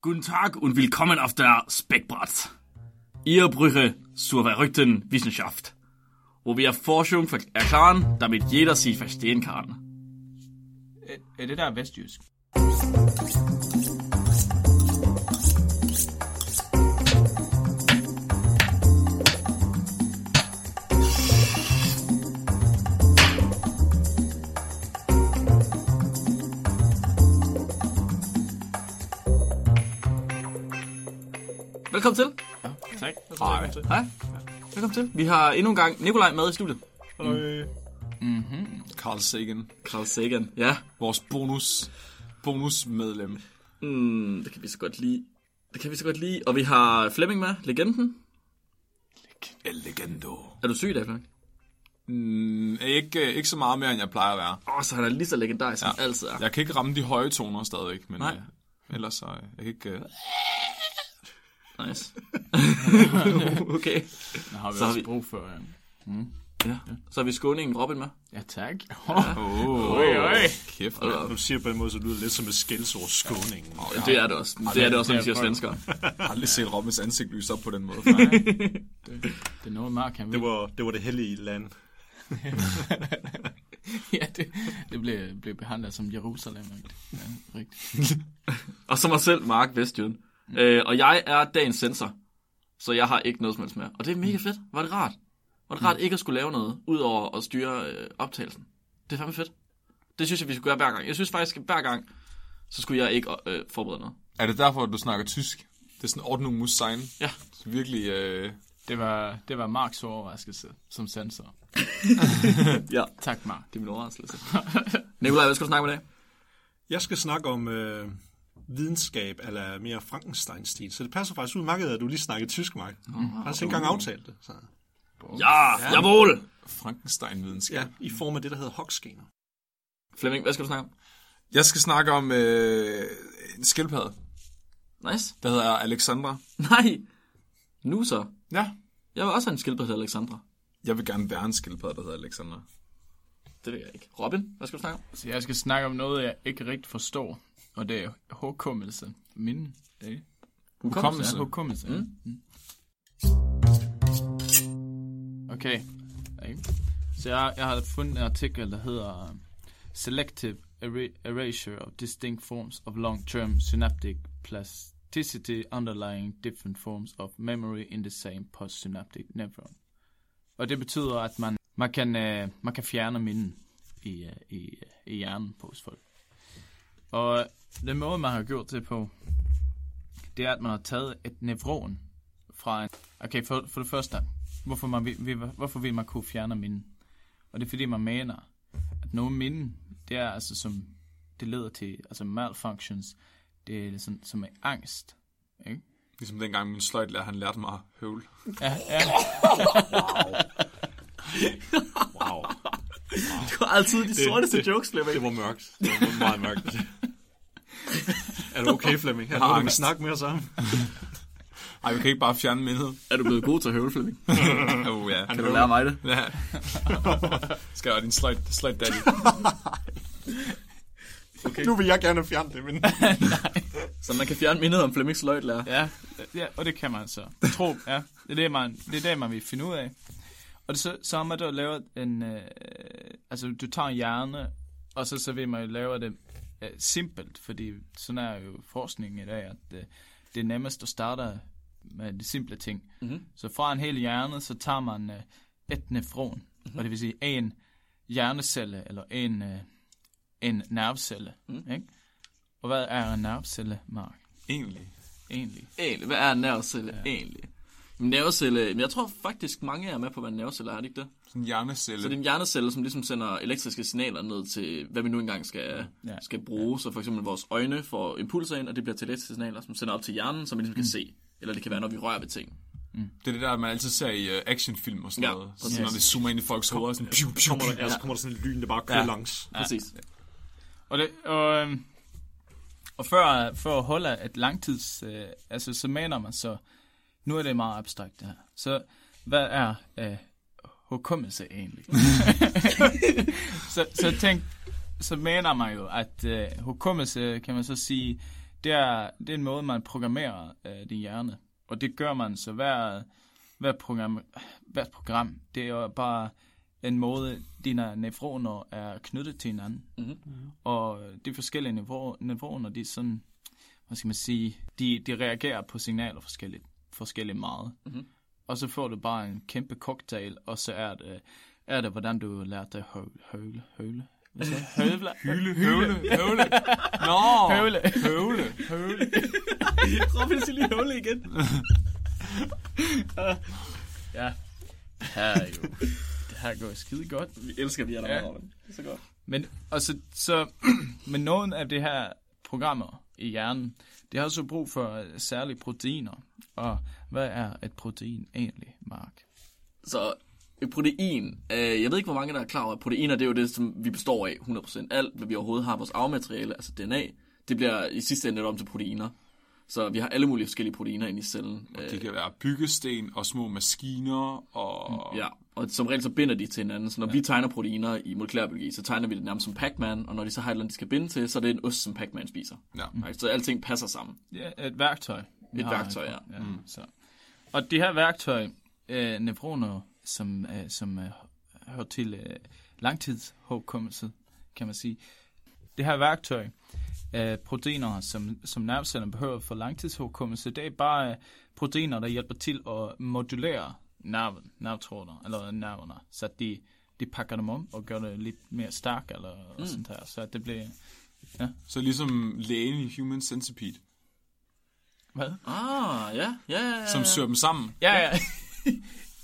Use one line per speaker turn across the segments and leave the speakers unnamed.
Guten Tag und willkommen auf der Speckbratz. Ihr Brüche zur verrückten Wissenschaft, wo wir Forschung ver- erklären, damit jeder sie verstehen kann.
Øh, det der er vestjysk.
Velkommen til.
Tak.
Hej. Hej. Velkommen til. Vi har endnu en gang Nikolaj med i studiet.
Carl Sagan,
Carl Sagan. Ja.
vores bonus bonusmedlem.
Mm, det kan vi så godt lide. Det kan vi så godt lide. Og vi har Flemming med, legenden.
El legendo.
Er du syg i dag, Flemming?
Mm, ikke, ikke så meget mere, end jeg plejer at være.
Åh, oh, så han er lige så legendarisk, som ja. altid er.
Jeg kan ikke ramme de høje toner stadigvæk, men
Nej.
øh, ellers så... øh, Jeg kan ikke... Øh,
Nice. okay.
Nu har vi
Så
så
har
også
vi-
vi... brug for... øhm,
Ja. Så har vi skåningen Robin med.
Ja, tak.
oh,
Oj, oj.
Kæft, man.
Du siger på den måde, så lyder det lidt som et skældsord, skåningen.
Ja. Det er det også. Det er det også, når vi siger
det er folk.
svenskere.
Jeg har aldrig set Robins ansigt lyse op på den måde. før.
Det er noget, Mark han vil.
Det var det, var det hellige land.
ja, det, det blev, blev behandlet som Jerusalem. Ikke? Ja, rigtigt.
Og så mig selv, Mark Vestjylland. Mm. Øh, og jeg er dagens sensor, så jeg har ikke noget som helst med. Og det er mega fedt. Var det rart? Var det rart ikke at skulle lave noget, ud over at styre øh, optagelsen? Det er fandme fedt. Det synes jeg, vi skulle gøre hver gang. Jeg synes faktisk, at hver gang, så skulle jeg ikke øh, forberede noget.
er det derfor, at du snakker tysk? Det er sådan ordnung muss sein.
Ja.
Så virkelig... Øh,
Det var, det var Marks overraskelse som sensor.
Ja.
Tak, Mark.
Det er min overraskelse. Nikolaj, hvad skal du snakke med i dag?
Jeg skal snakke om øh, videnskab, eller mere Frankenstein-stil. Så det passer faktisk udmærket, at du lige snakkede tysk, Mark. Mm. Jeg har ikke engang aftalt det. Så.
Ja, jawohl!
Frankenstein-videnskab.
Ja, i form af det, der hedder hoksgener.
Flemming, hvad skal du snakke om?
Jeg skal snakke om øh, en skildpadde,
Nice.
der hedder Alexandra.
Nej. Nu så.
Ja.
Jeg vil også have en skildpadde til Alexandra.
Jeg vil gerne være en skildpadde, der hedder Alexandra.
Det vil jeg ikke. Robin, hvad skal du snakke om?
Så jeg skal snakke om noget, jeg ikke rigtig forstår, og det er hukommelse. Min øh,
Hukommelse.
Hukommelse. ja. Mm. Okay. Ikke? Så jeg, jeg har fundet en artikel, der hedder øh, Selective Era- Erasure of Distinct Forms of Long-Term Synaptic Plasticity Underlying Different Forms of Memory in the Same Postsynaptic Neuron. Og det betyder, at man, man, kan, øh, man kan fjerne minden i, øh, i, øh, i hjernen på hos folk. Og den måde, man har gjort det på, det er, at man har taget et nevron fra en... Okay, for, for det første, hvorfor, man vil, vil, hvorfor vil man kunne fjerne minden? Og det er, fordi man mener, at nogle minden, det er altså som... Det leder til altså malfunctions. Det er ligesom, som er angst. Ikke?
Ligesom dengang min sløjtlærer, han lærte mig høvl.
Ja, ja.
Wow,
Du har altid de sorteste jokes, Flemming.
det var mørkt. Det var meget mørkt. er du okay, Flemming? Er
har
du, vi kan
angst.
snakke mere sammen?
Ej, vi kan ikke bare fjerne mindet.
Er du blevet god til at høvle, Flemming?
Oh, ja.
Kan du lære mig det?
Ja. Skal jeg have din sløjt, sløjt daddy?
Okay. Nu vil jeg gerne fjerne det, men...
Så man kan fjerne mindet om Flemmings løjtlærer.
Ja, ja, og det kan man så. Tro, ja. Det er det, man, det, er det, man vil finde ud af. Og så, så har man da lavet en... Øh, altså, du tager en hjerne, og så, så vil man jo lave det øh, simpelt, fordi sådan er jo forskningen i dag, at øh, det er nemmest at starte med de simple ting. Mm-hmm. Så fra en hel hjerne, så tager man øh, et nefron, mm-hmm. og det vil sige en hjernecelle, eller en, øh, en nervecelle. Mm. Ikke? Og hvad er en nervecelle, Mark,
Egentlig.
egentlig?
Egentlig, hvad er en nervecelle ja. egentlig? En nervecelle, men jeg tror faktisk mange er med på, hvad en nervecelle er, er det ikke det?
Sådan en hjernecelle.
Så det er en hjernecelle, som ligesom sender elektriske signaler ned til, hvad vi nu engang skal, ja.
Ja.
skal bruge. Så for eksempel vores øjne får impulser ind, og det bliver til elektriske signaler, som sender op til hjernen, som vi ligesom kan se. Eller det kan være, når vi rører ved ting.
Det er det der, man altid ser i øh, actionfilm og sådan
Ja,
noget.
præcis.
Sådan, når det zoomer ind i folks hoveder. Sådan, piu, piu,
Kommer der,
piu.
ja. så kommer der sådan en lyn, der bare kører
Ja.
ja. langs.
Præcis.
Og, det, og, øhm, og før, for at holde et langtids... Øh, altså, så mener man så... Nu er det meget abstrakt, det her. Så hvad er øh, hukommelse egentlig? så, så tænk... Så mener man jo, at øh, hukommelse, kan man så sige, det er, det er en måde, man programmerer øh, din hjerne. Og det gør man, så hver, hver program, hvert program, det er jo bare en måde, dine neuroner er knyttet til hinanden. Mm-hmm. Og de forskellige niveauer, neuroner, de er sådan, hvad skal man sige, de, de reagerer på signaler forskelligt, forskelligt meget. Mm-hmm. Og så får du bare en kæmpe cocktail, og så er det, er det hvordan du lærte dig at høvle, høvle, høvle. Hvad sagde jeg?
Hyle,
Høvle,
høvle, høvle. Nå,
høvle.
høvle, høvle.
Robin skal lige høvle igen.
Ja. Det her er jo... Det her går skide godt.
Vi elsker de her, der
Ja.
er Robin. Det er så godt.
Men, og så, så, men nogle af de her programmer i hjernen, de har så brug for øh, særlige proteiner. Og hvad er et protein egentlig, Mark?
Så et protein. Øh, jeg ved ikke, hvor mange der er klar over, at proteiner det er jo det, som vi består af 100%. Alt, hvad vi overhovedet har, vores arvemateriale, altså DNA, det bliver i sidste ende lavet om til proteiner. Så vi har alle mulige forskellige proteiner inde i cellen. Øh,
Det kan være byggesten og små maskiner og...
ja, og som regel så binder de til hinanden. Så når ja. vi tegner proteiner i molekylærbiologi, så tegner vi det nærmest som Pac-Man, og når de så har et eller andet, de skal binde til, så er det en ost, som Pac-Man spiser.
Ja.
Right? Så alting passer sammen.
Ja, et værktøj. vi
Et
har
værktøj,
herfra. ja. Mm. Så. Og det her værktøj, øh, neuroner, som, øh, som øh, hører til øh, langtidshukommelse, kan man sige. Det her værktøj, øh, proteiner, som, som nervecellerne behøver for langtidshukommelse, det er bare øh, proteiner, der hjælper til at modulere nerven, nervetråderne, eller nerverne, så de, de pakker dem om og gør det lidt mere stærk, eller mm. sådan der, så det bliver...
Så ligesom lægen i Human Centipede,
Hvad?
Ah, ja, ja, ja, ja.
som søger dem sammen.
Ja, ja.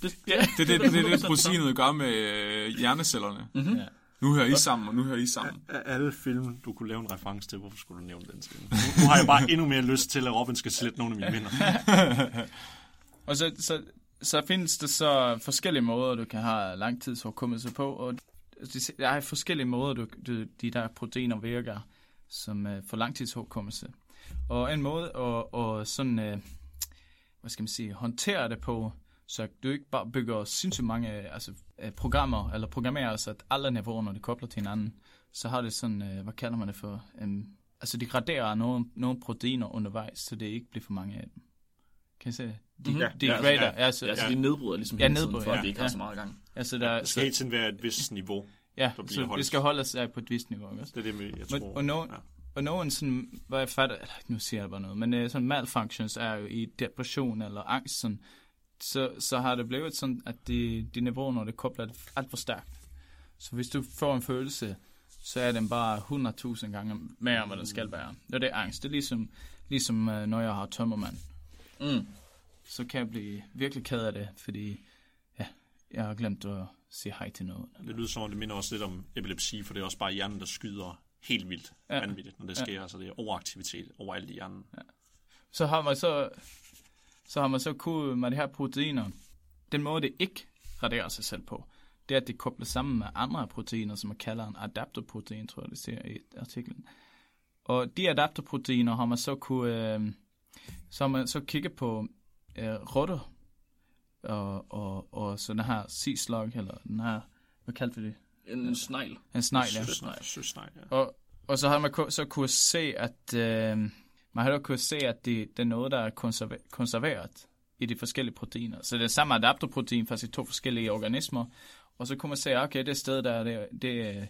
det, ja.
Det er det, det, er det proteinet gør med øh, hjernecellerne.
ja.
Nu hører I sammen, og nu hører I sammen.
Af alle film, du kunne lave en reference til, hvorfor skulle du nævne den til? Nu har jeg bare endnu mere lyst til, at Robin skal slette nogle af mine minder.
Og så, så, så findes der så forskellige måder, du kan have langtidshukommelse på, og Altså, de- der er forskellige måder, du, du, de der proteiner virker som øh, for langtidshukommelse. Og en måde at, at sådan, øh, hvad skal man sige, håndtere det på, så du ikke bare bygger sindssygt mange øh, altså, øh, programmer, eller programmerer, så at alle niveauer, når de kobler til hinanden, så har det sådan, øh, hvad kalder man det for, øh, altså de graderer nogle, nogle proteiner undervejs, så det ikke bliver for mange af dem. Kan I se det? De, mm-hmm. de
Mhm. Ja,
grader, ja,
ja.
altså,
Ja, så
altså,
de nedbryder ligesom
Ja,
hele tiden,
nedbryder,
for at
ja,
vi ikke
ja.
har så meget gang.
altså der,
Det skal
så,
hele tiden være et vist niveau.
ja,
der bliver
så
holdt.
det skal holde sig på et vist niveau, ikke også?
Det er det, jeg
Men-
tror.
og nogen-
ja.
Og nogen sådan, hvad jeg fatter, eller, nu siger jeg bare noget, men øh, sådan malfunctions er jo i depression eller angst, sådan, så, så har det blevet sådan, at de, de neuroner, det kobler alt for stærkt. Så hvis du får en følelse, så er den bare 100.000 gange mere, end hvad den skal være. Og det er angst. Det er ligesom, ligesom øh, når jeg har tømmermand.
Mm.
Så kan jeg blive virkelig ked af det, fordi ja, jeg har glemt at sige hej til nogen.
Det lyder som om, det minder også lidt om epilepsi, for det er også bare hjernen, der skyder helt vildt
Ja.
ja. vanvittigt, når det sker.
Altså,
Så det er overaktivitet overalt i hjernen.
så har man så, så har man så kodet med det her proteiner. Den måde, det ikke raderer sig selv på, det er, at det kobler sammen med andre proteiner, som man kalder en adapterprotein, tror jeg, det ser i artiklen. Og de adapterproteiner har man så kunne, øh, så har man så kigget på øh, rotter, og, og, og så den her sea-slug, eller den her, hvad kaldte vi det?
En snegl.
En snegl, ja.
Søsnej. Søsnej, ja.
Og, og så har man ku- så kunne se, at øh, man har dog kunne se, at det, det er noget, der er konserver- konserveret i de forskellige proteiner. Så det er samme adaptoprotein, faktisk i to forskellige organismer. Og så kunne man se, okay, det sted der, er det, det, øh,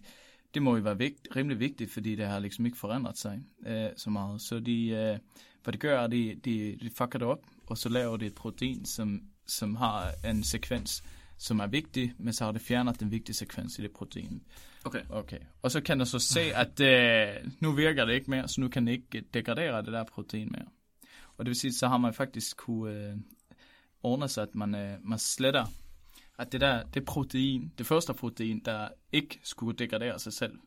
det må jo være vigt, rimelig vigtigt, fordi det har ligesom ikke forandret sig øh, så meget. Så de, øh, hvad de gør, de, de, de fucker det op, og så laver de et protein, som, som har en sekvens, som er vigtig, men så har det fjernet den vigtige sekvens i det protein.
Okay.
Okay. Og så kan du så se, at øh, nu virker det ikke mere, så nu kan det ikke øh, degradere det der protein mere. Og det vil sige, så har man faktisk kunne øh, ordne sig, at man, øh, man sletter, at det der, det protein, det første protein, der ikke skulle degradere sig selv,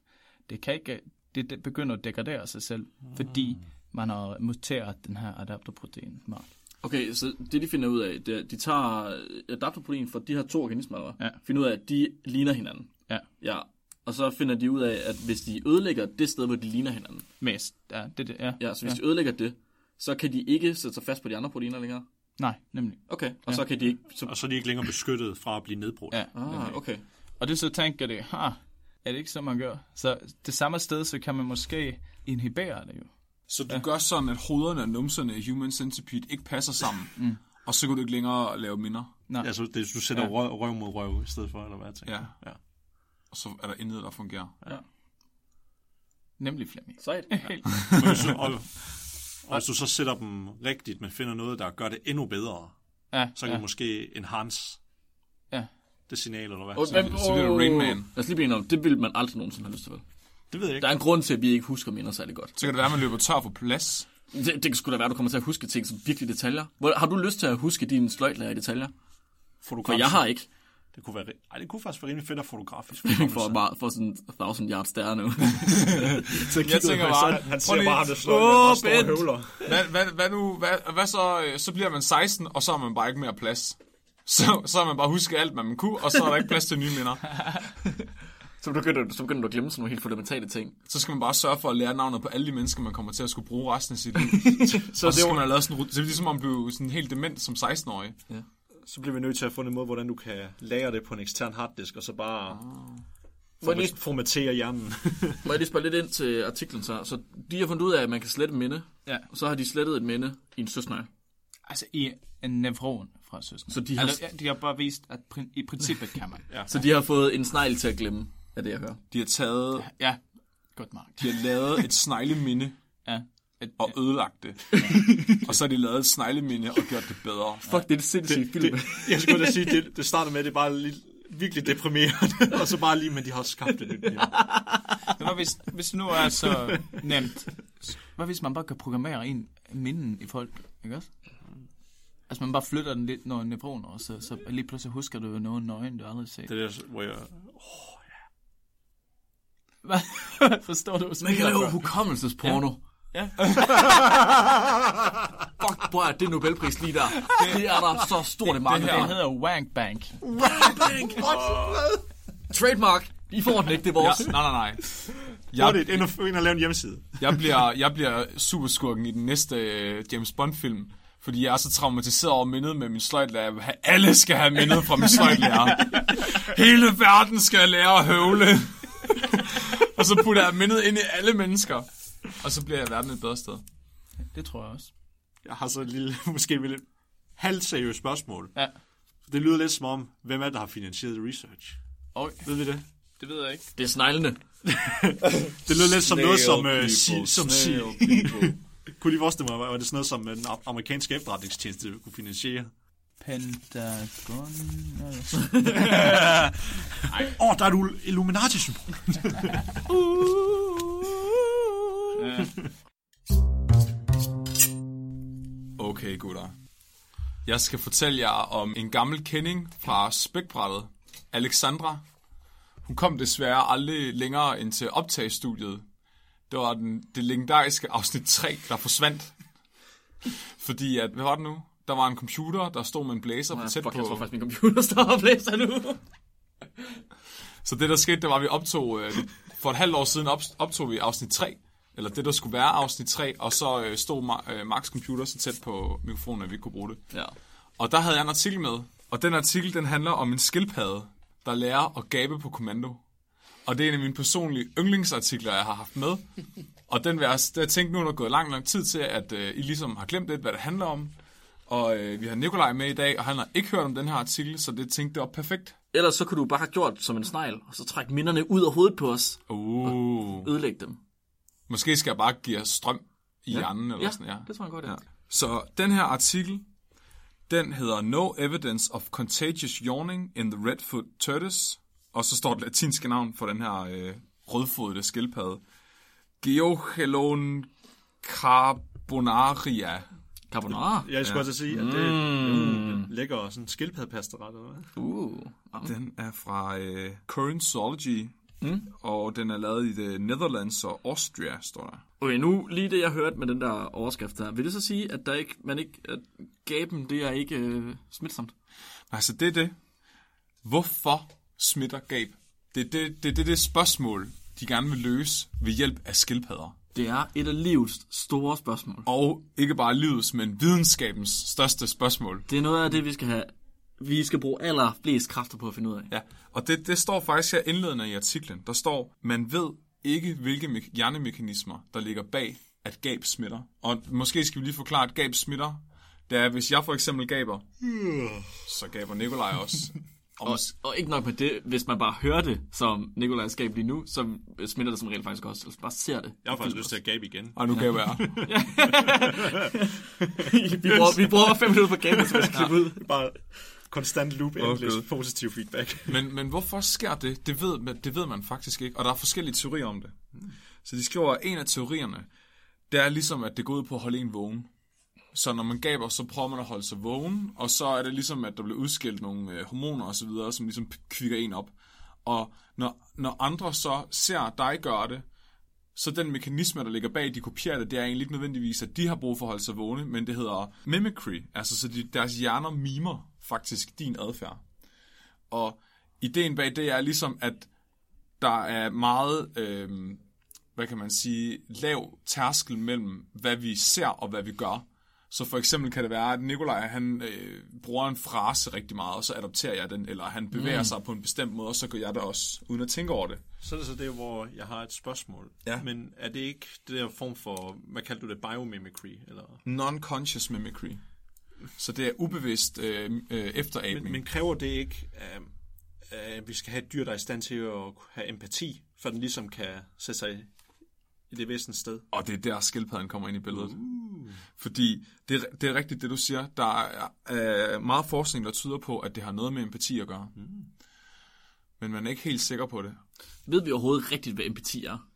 det kan ikke, det, det begynder at degradere sig selv, fordi man har muteret den her adapterprotein. Mark.
Okay, så det de finder ud af, det er, de tager øh, adaptoprotein fra de her to organismer, eller hvad?
Ja.
finder ud af, at de ligner hinanden.
Ja.
Ja, og så finder de ud af, at hvis de ødelægger det sted, hvor de ligner hinanden,
Mest. Ja, det, det, ja.
ja, så hvis ja. de ødelægger det, så kan de ikke sætte sig fast på de andre proteiner længere.
Nej, nemlig.
Okay, og ja. så kan de ikke... Så,
Og så er de ikke længere beskyttet fra at blive nedbrudt.
Ja.
ah, okay.
Og det så tænker det, ha, er det ikke så, man gør? Så det samme sted, så kan man måske inhibere det jo.
Så du ja. gør sådan, at hovederne og numserne i Human Centipede ikke passer sammen. mm. Og så kan du ikke længere lave minder.
Ja.
Altså, det, du sætter ja. røv, røv mod røv i stedet for, eller hvad jeg tænker.
Ja.
ja.
Og så er der intet, der fungerer.
Nemlig Flemming.
Sejt.
Men hvis du, og, og hvis du så sætter dem rigtigt, men finder noget, der gør det endnu bedre,
Ja,
så kan
ja.
ja. du måske enhance
Ja.
det signal, eller hvad.
Og,
Så,
så bliver det Rain Man.
Lad os lige blive enige om, det ville man aldrig nogensinde have lyst til. vel?
det ved jeg ikke.
Der er en grund til, at vi ikke husker minder særlig godt.
Så kan det være, at man løber tør for plads.
Det, det skulle da være, at du kommer til at huske ting som virkelig detaljer. Hvor, har du lyst til at huske dine sløjtlærer i detaljer? For
Fotograf-
jeg har ikke.
Det kunne, være, ri- ej, det altså. kunne faktisk være rimelig fedt at fotografisk.
For, bare, for sådan 1000 yards stær nu.
Jeg tænker bare,
han, han
prøv
ser
lige-
bare ham, der slår
Åh,
oh, store
Bent!
høvler.
Hvad, hvad, hvad nu? Hvad, hvad så? øh, Så bliver man 16, og så har man bare ikke mere plads. Så, så har man bare husket alt, hvad man kunne, og så er der ikke plads til nye minder.
så, begynder, du- så begynder du at glemme sådan nogle helt fundamentale ting.
Så skal man bare sørge for at lære navnet på alle de mennesker, man kommer til at skulle bruge resten af sit liv. så, og så
det
skal
var-
man have lavet sådan en rut- Så det er ligesom om man bliver sådan helt dement som 16-årig.
Så bliver vi nødt til at finde en måde, hvordan du kan lagre det på en ekstern harddisk, og så bare
Ah.
Må jeg lige,
forma- formatere hjernen.
må jeg lige spørge lidt ind til artiklen så. Så de har fundet ud af, at man kan slette minde.
Ja.
Og så har de slettet et minde i en søsnøgle.
Altså i en nevron fra søsteren.
Så de har-
altså, ja, de har bare vist, at prin- i princippet kan man. ja.
Så de har fået en snegl til at glemme, af det jeg hører.
De har taget...
ja. Godt, Mark.
De har lavet et snegleminde
Ja. Et,
og ødelagt det. og så har de lavet et snegleminde og gjort det bedre.
Fuck, det er det sindssygt film.
Det, jeg skulle da sige, det, det starter med, at det er bare lidt, virkelig deprimerende, og så bare lige, men de har skabt et nyt niveau.
Men Hvad hvis, hvis det nu er så nemt? Hvad hvis man bare kan programmere ind minden i folk, ikke også? Altså man bare flytter den lidt, når nevroner, og så, så lige pludselig husker du jo noget nøgen, du aldrig har set.
Det er der, hvor jeg...
Hvad? Forstår du?
Man kan lave hukommelsesporno.
Ja.
Fuck, bror, det er Nobelpris lige der. Det er der så stort et marked.
Det
for.
hedder Wank Bank.
Trademark. I får den ikke, det er vores.
Nej, nej, nej.
Hurtigt, ind og, ind og lave en hjemmeside.
Jeg bliver, jeg bliver superskurken i den næste øh, James Bond-film, fordi jeg er så traumatiseret over mindet med min sløjtlærer. Jeg vil have, alle skal have mindet fra min sløjtlærer. Hele verden skal lære at høvle. og så putter jeg mindet ind i alle mennesker. Og så bliver jeg verden et bedre sted.
Det tror jeg også.
Jeg har så et lille, måske et lidt halvseriøst spørgsmål.
Ja.
Det lyder lidt som om, hvem er det, der har finansieret det research?
Og
Ved vi det?
det ved jeg ikke.
Det er sneglene.
Det lyder lidt som noget, som, uh,
people,
si, som si.
snail people.
Kunne de forestille mig, var det sådan noget, som øh, den am- amerikanske efterretningstjeneste kunne finansiere?
Pentagon.
Åh, oh, der er et ul- Illuminati-symbol.
Okay, gutter. Jeg skal fortælle jer om en gammel kending fra spækbrættet, Alexandra. Hun kom desværre aldrig længere end til optagestudiet. Det var den, det legendariske afsnit 3, der forsvandt. Fordi at, hvad var det nu? Der var en computer, der stod med en blæser på tæt
Fuck, jeg tror
på.
faktisk, min computer står og blæser nu.
Så det, der skete, det var, at vi optog... Øh, for et halvt år siden op, optog vi afsnit 3. Eller det, der skulle være afsnit 3. Og så øh, stod Ma- øh, Max computer så tæt på mikrofonen, at vi ikke kunne bruge det.
Ja.
Og der havde jeg en artikel med, og den artikel den handler om en skildpadde, der lærer at gabe på kommando. Og det er en af mine personlige yndlingsartikler, jeg har haft med. Og den vil jeg, jeg tænkte nu, er der gået lang, lang tid til, at øh, I ligesom har glemt lidt, hvad det handler om. Og øh, vi har Nikolaj med i dag, og han har ikke hørt om den her artikel, så det tænkte jeg var perfekt.
Ellers så kunne du bare have gjort som en snegl, og så trække minderne ud af hovedet på os.
Uh.
Ødelægge dem.
Måske skal jeg bare give jer strøm i hjernen, eller
Ja,
sådan, ja.
det tror jeg godt, det er.
Så den her artikel, den hedder No Evidence of Contagious Yawning in the Redfoot Tortoise, og så står det latinske navn for den her øh, rødfodede skildpadde. Geochelon carbonaria.
Carbonara.
Jeg skulle også sige, at det er lækker sådan skildpaddepasteret, eller hvad?
Uh.
Den er fra øh, Currentsology, mm. og den er lavet i The Netherlands og Austria, står der.
Okay, nu lige det, jeg hørte med den der overskrift der. Vil det så sige, at der ikke, man ikke, at gaben, det er ikke øh, smitsomt?
Altså, det er det. Hvorfor smitter gab? Det er det, det, er det, det spørgsmål, de gerne vil løse ved hjælp af skildpadder.
Det er et af livets store spørgsmål.
Og ikke bare livets, men videnskabens største spørgsmål.
Det er noget af det, vi skal have. Vi skal bruge allerflest kræfter på at finde ud af.
Ja, og det, det står faktisk her indledende i artiklen. Der står, man ved ikke, hvilke me- hjernemekanismer, der ligger bag at gab smitter. Og måske skal vi lige forklare, at gab smitter. Det er, hvis jeg for eksempel gaber, så gaber Nikolaj også. Og
Og,
mås-
og ikke nok med det, hvis man bare hører det, som Nikolaj skab lige nu, så smitter det som regel faktisk også. Altså bare ser det.
Jeg har faktisk lyst til at gabe igen.
og nu gaber jeg.
vi, bruger, vi bruger fem minutter på gamet, så vi skal klippe ud.
Bare konstant loop endless
Gud.
positiv feedback.
Men, men hvorfor sker det? Det ved, man- det ved man faktisk ikke, og der er forskellige teorier om det. Så de skriver, at en af teorierne, det er ligesom, at det går ud på at holde en vågen. Så når man gaber, så prøver man at holde sig vågen, og så er det ligesom, at der bliver udskilt nogle øh, hormoner osv., som ligesom p- kvikker en op. Og når, når andre så ser dig gøre det, så den mekanisme, der ligger bag, de kopierer det, det er egentlig ikke nødvendigvis, at de har brug for at holde sig vågne, men det hedder mimicry. Altså, så de, deres hjerner mimer faktisk din adfærd. Og ideen bag det er ligesom, at der er meget, øh, hvad kan man sige, lav tærskel mellem, hvad vi ser og hvad vi gør. Så for eksempel kan det være, at Nikolaj han øh, bruger en frase rigtig meget, og så adopterer jeg den, eller han bevæger mm. sig på en bestemt måde, og så gør jeg det også, uden at tænke over det.
Så er det så det, hvor jeg har et spørgsmål.
Ja.
Men er det ikke det der form for, hvad kalder du det, biomimicry? Eller?
Non-conscious mimicry. Så det er ubevidst øh, øh, efterabning.
Men, men kræver det ikke, at, at vi skal have et dyr, der er i stand til at have empati, for den ligesom kan sætte sig i det væsentlige sted?
Og det er der, skildpadden kommer ind i billedet. Fordi det, er- det er rigtigt, det du siger. Der er øh, meget forskning, der tyder på, at det har noget med empati at gøre. Mm. Men man er ikke helt sikker på det.
Ved vi overhovedet rigtigt, hvad empati er?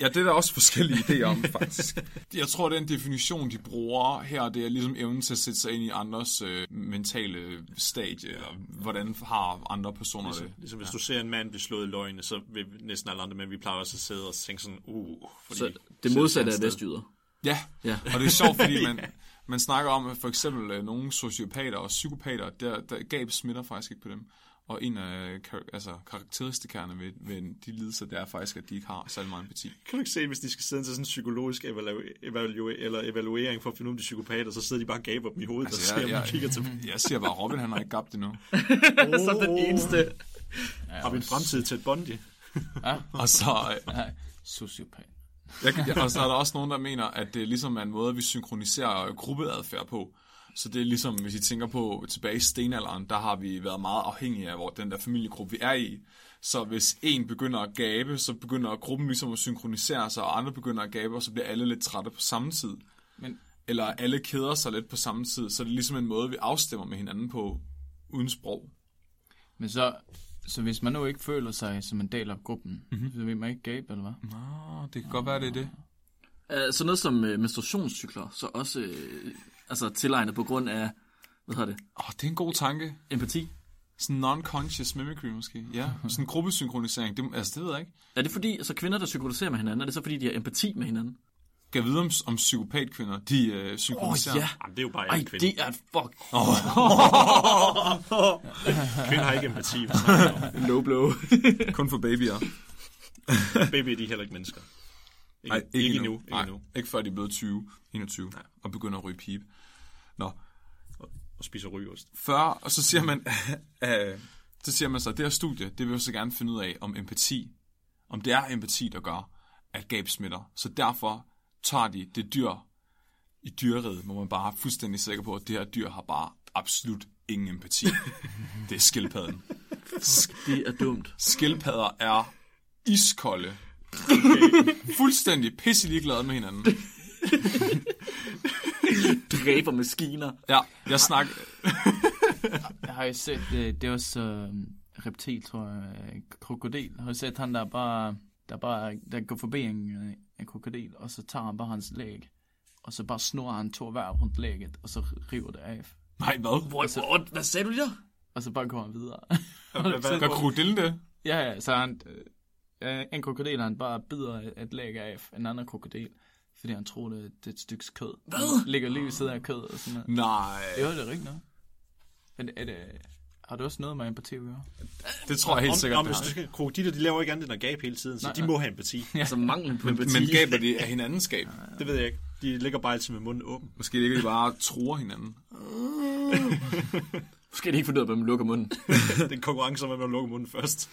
Ja, det er der også forskellige idéer om, faktisk. Jeg tror, den definition, de bruger her, det er ligesom evnen til at sætte sig ind i andres øh, mentale stadie, eller hvordan har andre personer det.
Ligesom hvis ja. du ser en mand blive slået i løgne, så vil næsten alle andre mænd, vi plejer også at sidde og tænke sådan, uh, fordi...
Så det modsatte af vestjyder.
Ja,
Ja.
og det er sjovt, fordi man, man snakker om, at for eksempel øh, nogle sociopater og psykopater, der, der gab smitter faktisk ikke på dem. Og en af kar- altså, karakteristikerne ved, ved de lidelser, det er faktisk, at de ikke har særlig meget empati.
Kan du ikke se, hvis de skal sidde til sådan en psykologisk evalu- evalu- eller evaluering for at finde ud af, om de er psykopater, så sidder de bare og gaber dem i hovedet, altså,
Altså,
og ser, om
jeg-
de
jeg-
kigger til dem.
Jeg siger bare, Robin han har ikke gabt det nu.
Som den eneste.
Har vi en fremtid til et Bondi?
Og så, øh,
Nej, sociopat.
jeg, jeg, og så er der også nogen, der mener, at det er ligesom er en måde, vi synkroniserer gruppeadfærd på. Så det er ligesom, hvis I tænker på tilbage i stenalderen, der har vi været meget afhængige af hvor den der familiegruppe, vi er i. Så hvis en begynder at gabe, så begynder gruppen ligesom at synkronisere sig, og andre begynder at gabe, og så bliver alle lidt trætte på samme tid.
Men-
Eller alle keder sig lidt på samme tid, så det er ligesom en måde, vi afstemmer med hinanden på uden sprog.
Men så, så hvis man nu ikke føler sig som en del af gruppen, mm-hmm. så vil man ikke gabe, eller hvad?
Nå, det kan godt være, det er det.
Øh, Sådan noget som øh, menstruationscykler, så også øh, altså, tilegnet på grund af, hvad hedder det,
Åh, det er en god tanke.
empati.
Sådan non-conscious mimicry måske. Ja, sådan en gruppesynkronisering. Det, altså, det ved jeg ikke.
Er det fordi, altså kvinder, der psykologiserer med hinanden, er det så fordi, de har empati med hinanden?
Kan vide om, om psykopatkvinder, de øh,
Åh oh,
synkroniserer.
ja,
Jamen, det er jo bare
ej,
alle kvinder.
det er et fuck
Kvinder har ikke empati. vi snakker om.
no blow.
Kun for babyer.
Baby, de er heller ikke mennesker. Ikke,
Nej, ikke,
ikke
endnu.
nu. Ikke
Nej,
nu.
ikke før de er blevet 20, 21 Nej. og begynder at ryge pibe. Nå,
Og spiser rygeost.
40, og så siger man, øh, så siger man så, at det her studie, det vil jeg så gerne finde ud af, om empati, om det er empati, der gør, at gab smitter. Så derfor tager de det dyr i dyreriet, hvor man bare er fuldstændig sikker på, at det her dyr har bare absolut ingen empati. det er skildpadden.
Det er dumt.
Skildpadder er iskolde. Fuldstændig pisse ligeglade med hinanden.
Dræber maskiner.
Ja, jeg snakker...
Har I set, det, det er også øh, reptil, tror jeg, øh, krokodil. Har I set han, der bare, der bare der går forbi en, øh, en krokodil, og så tager han bare hans læg, og så bare snor han to hver rundt lægget, og så river det af.
Nej, hvad?
Hvor, hvor, hvad sagde du lige der?
Og så bare går han videre.
Gør krokodillen det?
ja, ja, så han, øh, en krokodil, han bare bider et læg af en anden krokodil, fordi han tror, det, det er et stykke kød. Hvad? Ligger lige ved siden af kød og sådan noget.
Nej,
Jo, det er rigtigt nok. Men er det, har det også noget med empati at gøre?
det tror jeg helt sikkert,
Om, om,
det
hvis
har.
du skal, krokodiler, de laver ikke andet end at gabe hele tiden, så de må have empati.
Altså manglen på empati.
Men gaber de af hinandens skab?
Det ved jeg ikke. De ligger bare altid med munden åben.
Måske ligger de bare og tror hinanden.
Måske er de ikke finde ud af, hvem lukker munden.
Det er en konkurrence om, hvem der lukker munden først.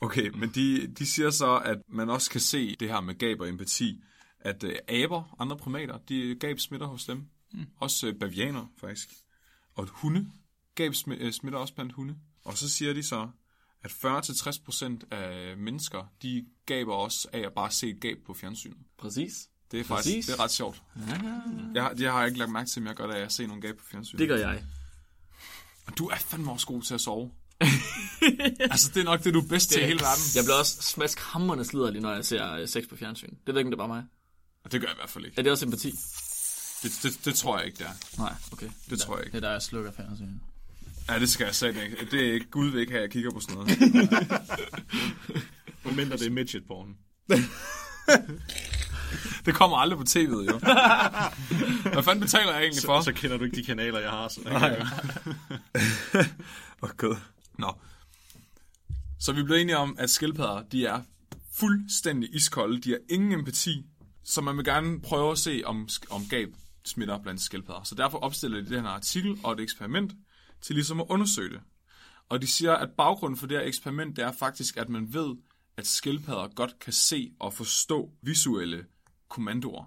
Okay, men de, de siger så, at man også kan se det her med gab og empati, at øh, aber, andre primater, de gab smitter hos dem. Mm. Også øh, bavianer, faktisk. Og at hunde gab smi- øh, smitter også blandt hunde. Og så siger de så, at 40-60% af mennesker, de gaber også af at bare se et gab på fjernsynet.
Præcis.
Det er faktisk
Præcis.
det er ret sjovt. Jeg, har- det har jeg ikke lagt mærke til, men jeg gør det, at jeg ser nogle gab på fjernsynet.
Det gør jeg.
Og du er fandme også god til at sove. altså, det er nok det, du er bedst til i hele verden.
Jeg bliver også smaskhammerende sliderlig, når jeg ser øh, sex på fjernsyn. Det ved jeg ikke, om det er bare mig.
Og det gør jeg i hvert fald ikke.
Er det også empati?
Det, det, det tror jeg ikke, det er.
Nej, okay.
Det tror jeg ikke.
Det er der, jeg slukker fjernsynet.
Ja, det skal jeg sagt ikke. Det er ikke Gud vil ikke have, at jeg kigger på sådan noget.
Men mindre det er midget porn.
Det kommer aldrig på tv'et, jo. Hvad fanden betaler jeg egentlig for?
Så kender du ikke de kanaler, jeg har. Så
Åh, gud. Nå. Så vi blev enige om, at skildpadder, de er fuldstændig iskolde. De har ingen empati. Så man vil gerne prøve at se, om, om gab smitter blandt skildpadder. Så derfor opstiller de den her artikel og et eksperiment til ligesom at undersøge det. Og de siger, at baggrunden for det her eksperiment, det er faktisk, at man ved, at skildpadder godt kan se og forstå visuelle kommandoer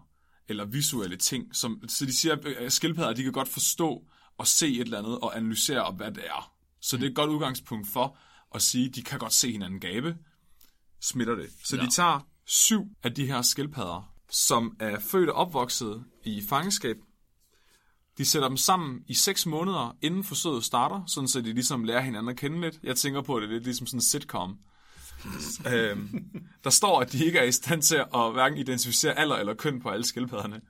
eller visuelle ting. Som, så de siger, at skildpadder de kan godt forstå og se et eller andet og analysere, og hvad det er. Så det er et godt udgangspunkt for at sige, at de kan godt se hinanden gabe. Smitter det. Så ja. de tager syv af de her skildpadder, som er født og opvokset i fangenskab. De sætter dem sammen i 6 måneder, inden forsøget starter, sådan så de ligesom lærer hinanden at kende lidt. Jeg tænker på, at det er lidt ligesom sådan en sitcom. øhm, der står, at de ikke er i stand til at hverken identificere alder eller køn på alle skildpadderne.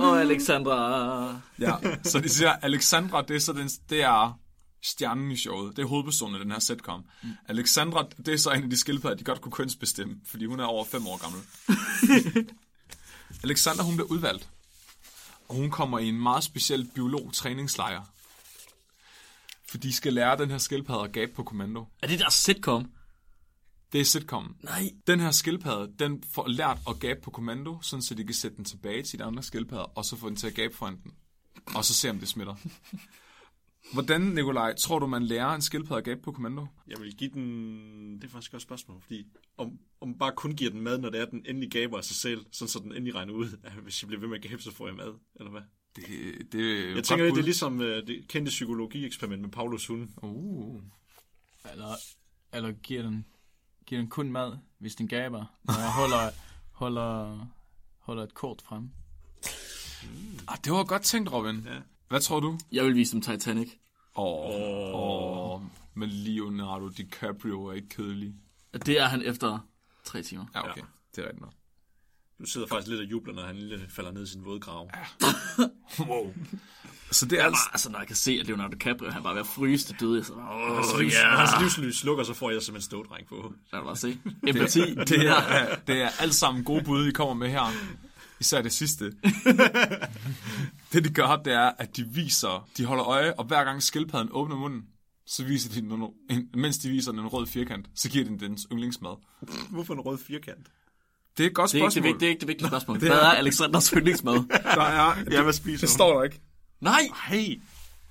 Og Alexandra.
Ja, så de siger, Alexandra, det er, så den, det er stjernen i showet. Det er hovedpersonen i den her sitcom. Mm. Alexandra, det er så en af de skildpadder, de godt kunne kønsbestemme, fordi hun er over fem år gammel. Alexandra, hun bliver udvalgt. Og hun kommer i en meget speciel biolog-træningslejr. For de skal lære den her skildpadde at gabe på kommando.
Er det der sitcom?
Det er sitcomen.
Nej.
Den her skildpadde, den får lært at gabe på kommando, sådan så de kan sætte den tilbage til de andre skildpadder, og så få den til at gabe foran den. Og så se, om det smitter. Hvordan, Nikolaj, tror du, man lærer en skildpadde at gabe på kommando?
jeg vil give den... Det er faktisk et godt spørgsmål, fordi om, om man bare kun giver den mad, når det er, den endelig gaber af sig selv, sådan så den endelig regner ud, at hvis jeg bliver ved med at gabe, så får jeg mad, eller hvad?
Det, det er
Jeg tænker lidt, det er ligesom øh, det kendte psykologi-eksperiment med Paulus hund.
Uh.
Eller, eller giver, den, giver den kun mad, hvis den gaber, når jeg holder, holder, holder et kort frem.
Ah, det var godt tænkt, Robin. Ja. Hvad tror du?
Jeg vil vise dem Titanic.
Åh, oh, oh. oh. men Leonardo DiCaprio er ikke kedelig.
Det er han efter tre timer.
Ja, okay. Ja. Det er rigtigt nok.
Du sidder faktisk lidt og jubler, når han lille falder ned i sin våde grav.
Wow. Så det er altså...
Altså, når jeg kan se, at Leonardo DiCaprio, han bare ved at fryse til døde, så åh,
Hans livs- Hans livslys slukker, så får jeg simpelthen stådræk på.
lad mig bare se. Empati.
Det er, det er alt sammen gode bud, I kommer med her. Især det sidste. det, de gør, det er, at de viser, de holder øje, og hver gang skildpadden åbner munden, så viser de den, nogle- en- mens de viser den en rød firkant, så giver de den dens yndlingsmad.
Hvorfor en rød firkant?
Det er et godt
Det er, ikke det,
spørgsmål.
vigt- det er ikke det vigtige spørgsmål. Hvad er Alexanders yndlingsmad?
Der er, det,
Ja, hvad spiser
det
hun?
står der ikke.
Nej!
Hey,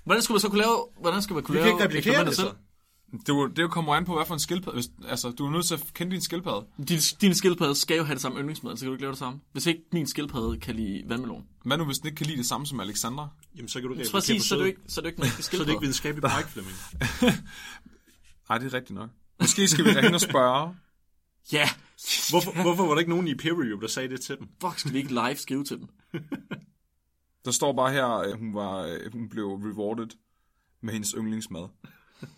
Hvordan skulle man så kunne lave... Hvordan skulle man kunne
vi kan
lave...
ikke replikere det
eksperimentet
så.
Det, det kommer an på, hvad for en skildpadde. Hvis, altså, du er nødt til at kende din skildpadde.
selv? Din, din skildpadde skal jo have det samme yndlingsmad, så kan du ikke lave det samme. Hvis ikke min skildpadde kan lide vandmelon.
Hvad nu, hvis den ikke kan lide det samme som Alexandra?
Jamen, så kan du ikke
Præcis, så er du
det
ikke, så er du ikke en rigtig
så er det
skildpadde.
ikke videnskabeligt Park Flemming.
Nej, det er rigtigt nok. Måske skal vi ringe og spørge.
Ja!
Hvorfor, hvorfor var der ikke nogen i peer review, der sagde det til dem?
Fuck, skal vi ikke live skrive til dem?
Der står bare her, at hun, var, at hun blev rewarded med hendes yndlingsmad.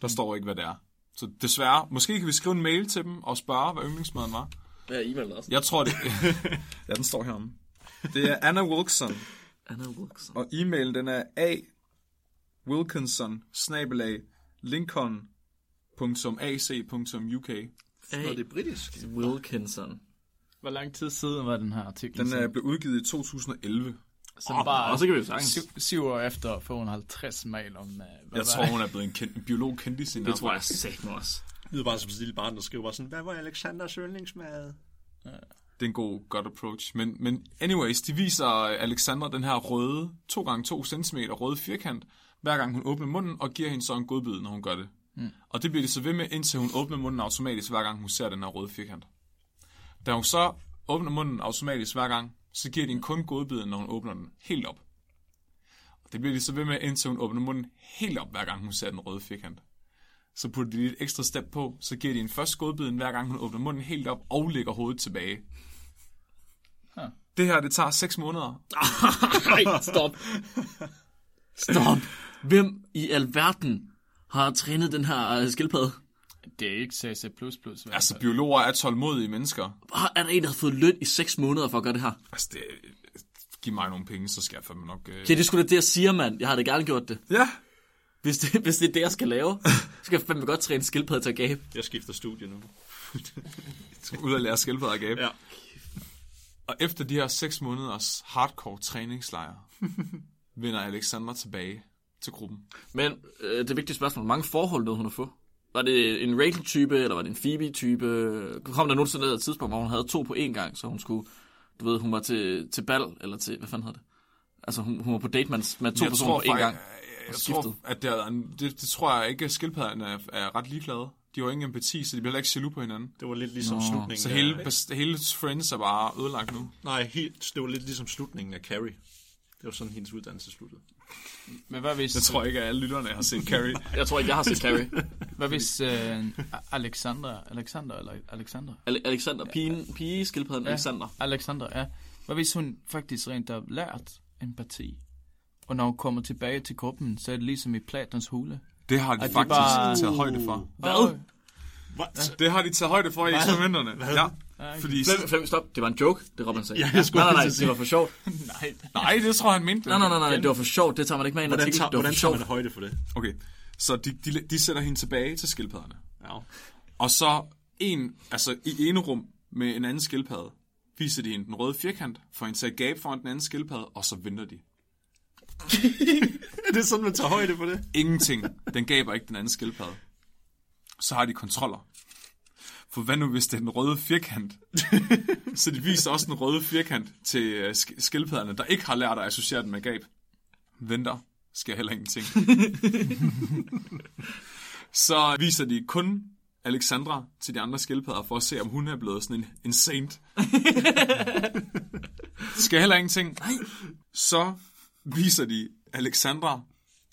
Der står ikke, hvad det er. Så desværre, måske kan vi skrive en mail til dem og spørge, hvad yndlingsmaden var.
Hvad er e-mailen også?
Jeg tror det. ja, den står heromme. Det er Anna Wilson,
Anna Wilson.
og e-mailen den er a wilkinson snabelag lincoln.ac.uk.
Nå, det er britisk.
Wilkinson.
Hvor lang tid siden var den her artikel?
Den øh, er blevet udgivet i 2011.
så den bare
Og så kan vi jo sagtens.
syv, syv år efter får hun 50 mail om... Uh, hvad
Jeg tror, hun er blevet en, kendt, en biolog kendis i
Det tror jeg sagt mig også.
Det lyder bare som sådan et lille barn, der skriver bare sådan, hvad var Alexanders yndlingsmad?
Det er en god, godt approach. Men, men anyways, de viser Alexandra den her røde, 2 gange 2 cm røde firkant, hver gang hun åbner munden, og giver hende så en godbid, når hun gør det. Mm. Og det bliver de så ved med, indtil hun åbner munden automatisk, hver gang hun ser den her røde firkant. Da hun så åbner munden automatisk hver gang, så giver de en kun godbid, når hun åbner den helt op. Og det bliver de så ved med, indtil hun åbner munden helt op, hver gang hun ser den røde firkant. Så putter de lidt ekstra step på, så giver de en først godbiden, hver gang hun åbner munden helt op og lægger hovedet tilbage. Det her, det tager 6 måneder.
Nej, stop. Stop. Hvem i alverden har trænet den her øh, skildpadde?
Det er ikke CC++. i hvert
Altså,
fald.
biologer er tålmodige mennesker.
Hvor er der en, der har fået løn i 6 måneder for at gøre det her?
Altså, det, giv mig nogle penge, så skal jeg fandme nok... Øh...
Okay, det er sgu da det, jeg siger, mand. Jeg har da gerne gjort det.
Ja,
Hvis det, hvis det er det, jeg skal lave, så skal jeg fandme godt træne en skildpadde til at gabe.
Jeg skifter studie nu.
ud at lære skildpadder at gabe.
Ja.
Og efter de her 6 måneders hardcore træningslejr, vender Alexander tilbage til gruppen.
Men øh, det vigtige spørgsmål, hvor mange forhold nåede hun at få? Var det en Rachel-type, eller var det en Phoebe-type? Kom der nogensinde ned et tidspunkt, hvor hun havde to på én gang, så hun skulle, du ved, hun var til, til bal, eller til, hvad fanden hed det? Altså, hun, hun var på date med, med to personer på én
faktisk- øh,
gang.
Jeg
skiftet.
tror, at det, er, en- det, det tror jeg ikke, at skildpadderne er, er ret ligeglade. De har ingen empati, så de bliver heller ikke jaloux på hinanden.
Det var lidt ligesom Nå. slutningen.
Så hele, bas- hele Friends er bare ødelagt nu.
Nej, helt, det var lidt ligesom slutningen af Carrie. Det var sådan, hendes uddannelse sluttede.
Men hvad hvis,
Jeg tror ikke, at alle lytterne har set Carrie.
Jeg tror ikke, jeg har set Carrie.
hvad hvis øh, Alexander, Alexander eller Alexander?
Ale- Alexander, pigen, pige, skildpadden ja. Alexander.
Alexander, ja. Hvad hvis hun faktisk rent har lært empati? Og når hun kommer tilbage til gruppen, så er det ligesom i Platons hule.
Det har de
Ej, de
faktisk
bare-
taget højde for.
Hvad?
Det har de taget højde for i eksperimenterne. Ja. Fordi,
Flemming, Flemming, stop. Det var en joke, det Robin sagde.
Ja, jeg skulle
nej, nej, nej,
lige til at
det var for sjovt.
Nej.
nej, det tror jeg, han mente.
Nej, nej, nej, nej, det var for sjovt. Det tager man ikke med i en
Hvordan
artikel.
tager,
Det var
hvordan
for
tager
sjovt.
man højde for det?
Okay, så de, de, de sætter hende tilbage til skildpadderne.
Ja.
Og så en, altså i ene rum med en anden skildpadde, viser de hende den røde firkant, får hende til at gabe foran den anden skildpadde, og så venter de.
Er det sådan, man tager højde for det?
Ingenting. Den gaber ikke den anden skildpadde. Så har de kontroller. For hvad nu, hvis det er den røde firkant? så de viser også den røde firkant til øh, sk- skildpadderne, der ikke har lært at associere den med gab. Venter. Sker heller ingenting. så viser de kun Alexandra til de andre skildpadder, for at se, om hun er blevet sådan en, en saint. Sker heller ingenting. Så viser de Alexandra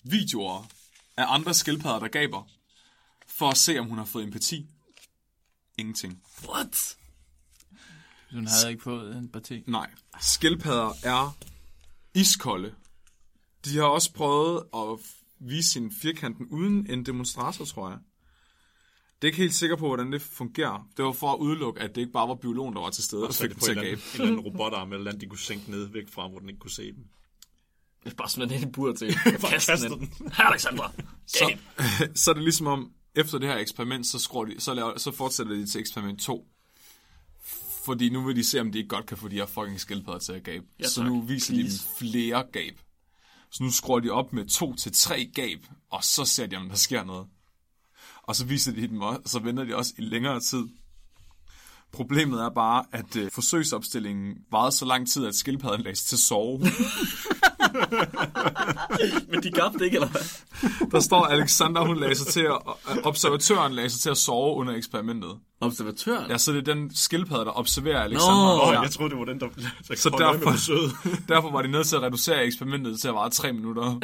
videoer af andre skildpadder, der gaber, for at se, om hun har fået empati. Ingenting.
What?
Hun havde ikke fået empati.
Nej. Skildpadder er iskolde. De har også prøvet at f- vise sin firkanten uden en demonstrator, tror jeg. Det er ikke helt sikker på, hvordan det fungerer. Det var for at udelukke, at det ikke bare var biologen, der var til stede og, og
Så er
fik
det
dem
på
til
en
at
eller,
gabe.
anden, en eller anden robotarm eller andet, de kunne sænke ned væk fra, hvor den ikke kunne se dem.
Det er bare smidt den ind i buret til. Kast den. ind. Her, Alexander.
Så, så er det ligesom om, efter det her eksperiment, så, skruer de, så, laver, så fortsætter de til eksperiment 2. Fordi nu vil de se, om de ikke godt kan få de her fucking skildpadder til at gabe. Ja, så
tak.
nu viser
Please.
de dem flere gab. Så nu skruer de op med to til tre gab, og så ser de, om der sker noget. Og så viser de dem også, og så venter de også i længere tid. Problemet er bare, at øh, forsøgsopstillingen varede så lang tid, at skildpadden lagde sig til at sove.
Men de gabte ikke, eller hvad?
Der står Alexander, hun lagde sig til at, øh, observatøren lagde sig til at sove under eksperimentet.
Observatøren?
Ja, så det er den skildpadde, der observerer Alexander.
Nå,
Åh,
ja.
jeg troede, det var den, der... der
Så derfor,
Søde.
derfor var de nødt til at reducere eksperimentet til at vare tre minutter.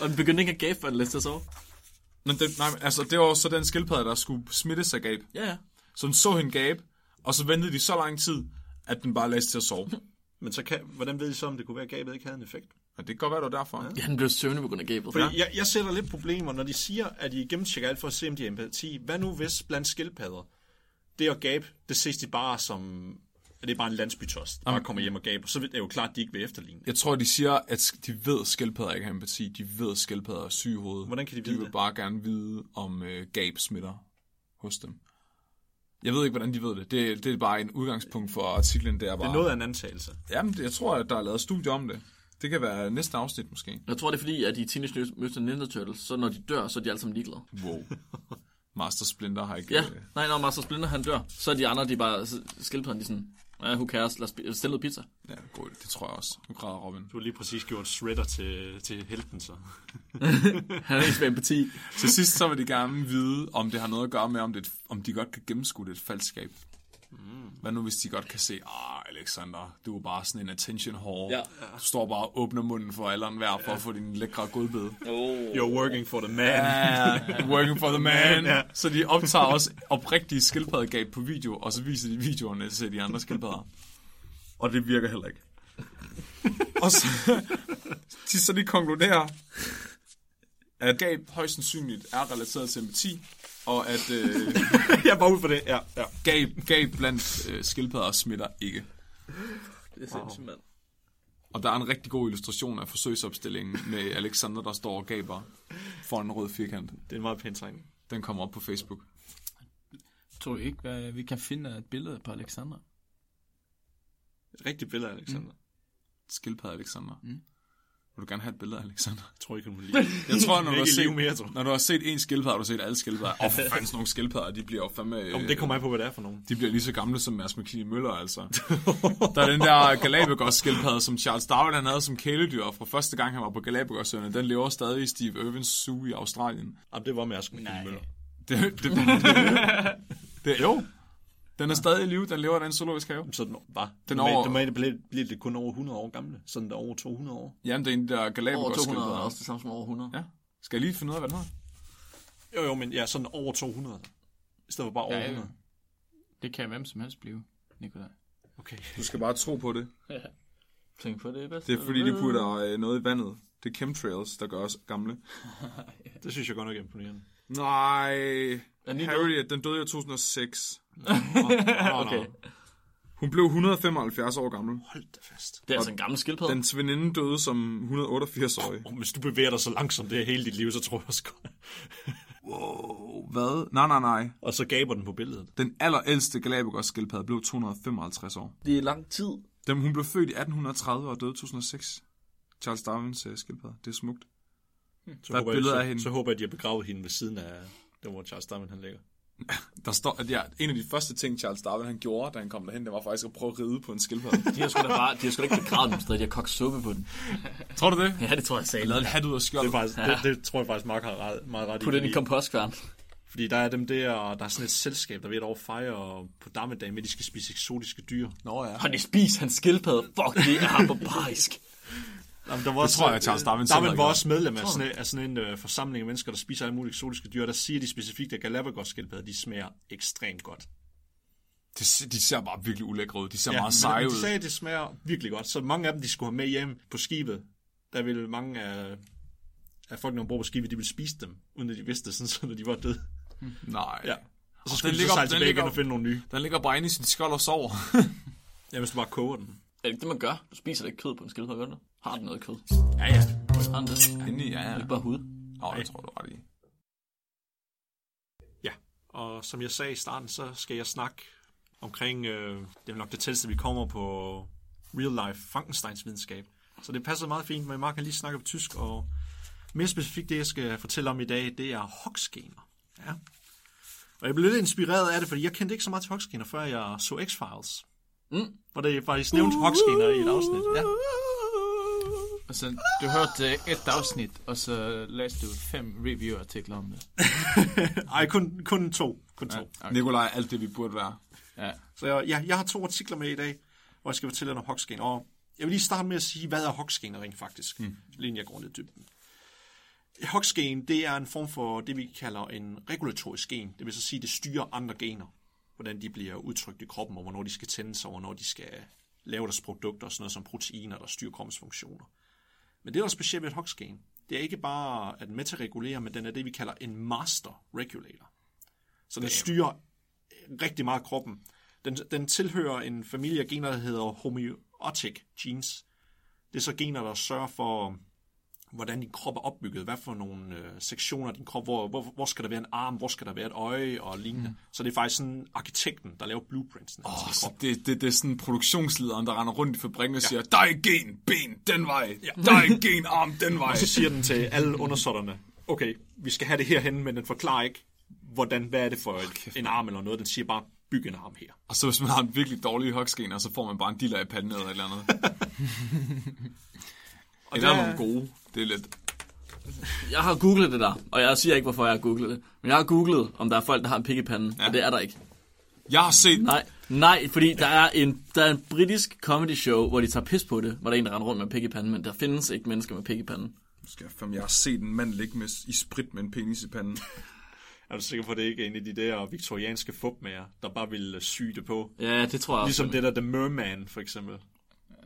Og den begyndte ikke at gabe, for den læste at sove.
Men det, nej, men altså, det var jo så den skildpadde, der skulle smittes af gab.
Ja, ja.
Så den så hende gabe, og så ventede de så lang tid, at den bare lagde sig til at sove.
Men så kan, hvordan ved I så, om det kunne være, at gabet ikke havde en effekt?
Og det kan godt være, det var derfor.
Ja, den blev søvnig på grund af gabet.
Fordi jeg, jeg ser der lidt problemer, når de siger, at I gennemtjekker alt for at se, om de har empati. Hvad nu hvis blandt skildpadder, det at gabe, det ses de bare som... at Det er bare en landsbytost, der bare kommer hjem og gaber. Så er det jo klart, at de ikke vil efterligne det.
Jeg tror, de siger, at sk- de ved, at skildpadder ikke har empati. De ved, at skildpadder er syge i hovedet.
Hvordan kan de
De
vide
vil
det?
bare gerne vide, om øh, gab smitter hos dem. Jeg ved ikke, hvordan de ved det. det. Det er bare en udgangspunkt for artiklen, der
Det
bare...
er noget af en antagelse.
Jamen, det- jeg tror, at der er lavet studier om det. Det kan være næste afsnit, måske.
Jeg tror, det er fordi, at i Teenage Mutant Ninja Turtles, så når de dør, så er de alle sammen ligeglade.
Wow. Master Splinter har ikke...
Ja,
øh,
nej, når Master Splinter han dør, så er de andre, de er bare så skildpadden, de er sådan, Ja, who cares? Lad os spi- stille noget pizza.
Ja, god, det tror jeg også. Nu græder Robin.
Du har lige præcis gjort Shredder til, til helten, så.
Han er ikke med empati.
Til sidst så vil de gerne vide, om det har noget at gøre med, om, det, er et- om de godt kan gennemskue det er et faldskab. Hvad nu, hvis de godt kan se, ah, Alexander, du er bare sådan en attention whore.
Ja.
Du står bare og åbner munden for alderen hver for at få din lækre godbid.
Oh.
You're working for the man.
Ja, working for the man. Så de optager også oprigtige skildpaddegab på video, og så viser de videoerne til de andre skildpadder. Og det virker heller ikke. og så de, så de konkluderer, at gab højst sandsynligt er relateret til empati, og at øh,
jeg er bare ud for det, ja. ja.
gab, gab blandt øh, skildpadder smitter ikke.
Det er sindssygt, mand.
Og der er en rigtig god illustration af forsøgsopstillingen med Alexander, der står og gaber foran en rød firkant.
Det er en meget pæn tegning.
Den kommer op på Facebook.
Tror I ikke, hvad vi kan finde af et billede på Alexander?
Et rigtigt billede, Alexander. Mm.
skildpadde Alexander. Mm. Vil du gerne have et billede af Alexander?
Jeg tror ikke, hun vil lide det.
Jeg tror, når du,
Ikke
har
i live
set,
mere, tror jeg.
når du har set en skildpadde, har du set alle skildpadder. Åh, oh, fanden, sådan nogle skildpadder, de bliver jo fandme... øh,
Om det kommer an på, hvad det er for nogen.
De bliver lige så gamle som Mads McKinney Møller, altså. Der er den der Galapagos-skildpadde, som Charles Darwin han havde som kæledyr fra første gang, han var på Galapagosøerne. Den lever stadig i Steve Irvins Zoo i Australien.
Jamen, det var med Asken Møller.
Det, det, det, det, jo, den er stadig i live. Den lever i den zoologisk have.
Så den var.
Den
Den over...
over-
Den normalt bliver, bliver det kun over 100 år gamle. Sådan der over 200 år.
Jamen, det er en af de der
Over 200 er
Galapagos-skildpadder.
også det samme som over 100.
Ja. Skal jeg lige finde ud af, hvad den hedder?
Jo, jo, men ja, sådan over 200. I stedet for bare over
Ja, ja.
100.
Det kan hvem som helst blive, Nikolaj.
Okay.
Du skal bare tro på det.
Tænk på det er bedst.
Det er fordi, de putter øh, noget i vandet. Det er chemtrails, der gør os gamle.
Det synes jeg godt nok er imponerende.
Nej,
Er den
Harriet, den døde i 2006.
Okay.
Hun blev 175 år gammel.
Hold da fast.
Det er altså en gammel skildpadde. Den...
Dens veninde døde som 188-årig.
Oh, hvis du bevæger dig så langsomt det er hele dit liv, så tror jeg også godt.
Hvad? Nej, nej, nej.
Og så gaber den på billedet.
Den allerældste Galapagos-skildpadde blev 255 år.
Det er lang tid.
Dem, hun blev født i 1830 og døde i 2006. Charles Darwins øh, skildpadde. Det er smukt.
Så
Der er
håber
et
jeg-
billede
så-
af hende.
Så håber jeg, at de har begravet hende ved siden af der, hvor Charles Darwin han ligger.
Der står, at ja, en af de første ting, Charles Darwin han gjorde, da han kom derhen, det var faktisk at prøve at ride på en skildpadde.
De har sgu da bare, de har sgu da ikke begravet dem stadig. De har kogt suppe på den.
Tror du det?
Ja, det tror jeg sagde.
Jeg lavede et hat ud af skjold.
Det, er faktisk, det, det tror jeg faktisk, Mark har ret, meget ret
Put
i.
den i
Fordi,
kompostkværn.
fordi der er dem der, og der er sådan et selskab, der ved at over fejre på dammedag, men de skal spise eksotiske dyr.
Nå ja.
Og de spiser hans skildpadde. Fuck, det er barbarisk.
Jamen, der var det
tror jeg, Charles Darwin selv
øh, Darwin
har
var
gjort.
også medlem af sådan, en- af sådan en øh, forsamling af mennesker, der spiser alle mulige eksotiske dyr, og der siger de specifikt, at Galapagos-skildpadder, de smager ekstremt godt.
De, se- de ser bare virkelig ulækre ud. De ser ja,
men
meget seje
De
ud.
sagde, at det smager virkelig godt, så mange af dem, de skulle have med hjem på skibet, der ville mange af, af folkene ombord på skibet, de ville spise dem, uden at de vidste det, sådan, så når de var døde.
Nej.
Ja.
Ja.
Og så skulle de
ligger-
så sejle
den
tilbage igen
ligger-
og finde nogle nye.
Den ligger bare inde i sin skjold og sover.
Ja, hvis du bare koger den.
Er det ikke det, man gør? Du spiser da ikke kød på en skildpadde, gør du? det? Har den noget kød?
ja, ja.
Har den det? Ja.
Inde i, ja,
Det
ja.
er bare hud.
Nå, jeg tror, du er ret i.
Ja, og som jeg sagde i starten, så skal jeg snakke omkring, øh, det er nok det tætteste, vi kommer på real life Frankensteins videnskab. Så det passer meget fint, men Mark kan lige snakke på tysk, og mere specifikt det, jeg skal fortælle om i dag, det er Hoxgener. Ja. Og jeg blev lidt inspireret af det, fordi jeg kendte ikke så meget til Hoxgener, før jeg så X-Files.
Mm.
Hvor det faktisk nævnte Hoxgener i et afsnit. Ja.
Og så, du hørte øh, et afsnit, og så læste du fem review-artikler om det.
Ej, kun, kun to. Kun to.
Nikolaj er alt det, vi burde være.
Ja.
Så jeg, ja, jeg har to artikler med i dag, hvor jeg skal fortælle jer om Hoxgen. Og jeg vil lige starte med at sige, hvad er Hoxgen rent faktisk? Mm. Lige inden jeg går lidt i dybden. Hoxgen, det er en form for det, vi kalder en regulatorisk gen. Det vil så sige, det styrer andre gener. Hvordan de bliver udtrykt i kroppen, og hvornår de skal tænde sig, og hvornår de skal lave deres produkter, og sådan noget som proteiner, der styrer kroppens funktioner. Men det, der er specielt ved et Hoxgen, det er ikke bare, at den er med til at regulere, men den er det, vi kalder en master regulator. Så den styrer rigtig meget af kroppen. Den, den tilhører en familie af gener, der hedder homeotic genes. Det er så gener, der sørger for, hvordan din krop er opbygget, hvad for nogle øh, sektioner af din krop, hvor, hvor, hvor skal der være en arm, hvor skal der være et øje og lignende. Mm. Så det er faktisk sådan arkitekten, der laver blueprints.
Åh, så Altså, det, det, det er sådan produktionslederen, der render rundt i fabrikken og siger, der er et gen, ben, den vej. Der er et gen, arm, den vej.
Så siger den til alle undersåtterne, okay, vi skal have det herhen, men den forklarer ikke, hvordan, hvad er det for et, en arm eller noget, den siger bare, byg en arm her.
Og så hvis man har en virkelig dårlig hokskener, så får man bare en diller i panden eller et eller andet. og der er nogle gode. Det er lidt...
Jeg har googlet det der, og jeg siger ikke, hvorfor jeg har googlet det. Men jeg har googlet, om der er folk, der har en pik i panden, ja. og det er der ikke.
Jeg har set...
Nej, nej, fordi der er, en, der er en britisk comedy show, hvor de tager pis på det, hvor der er en, der render rundt med pik i panden, men der findes ikke mennesker med pik i panden.
Skal jeg, fandme- jeg har set en mand ligge med, i sprit med en penis i panden.
Er du sikker på, at det ikke er en af de der viktorianske fupmager, der bare ville øh, sy det på?
Ja, det tror jeg også.
Ligesom det der The Merman, for eksempel.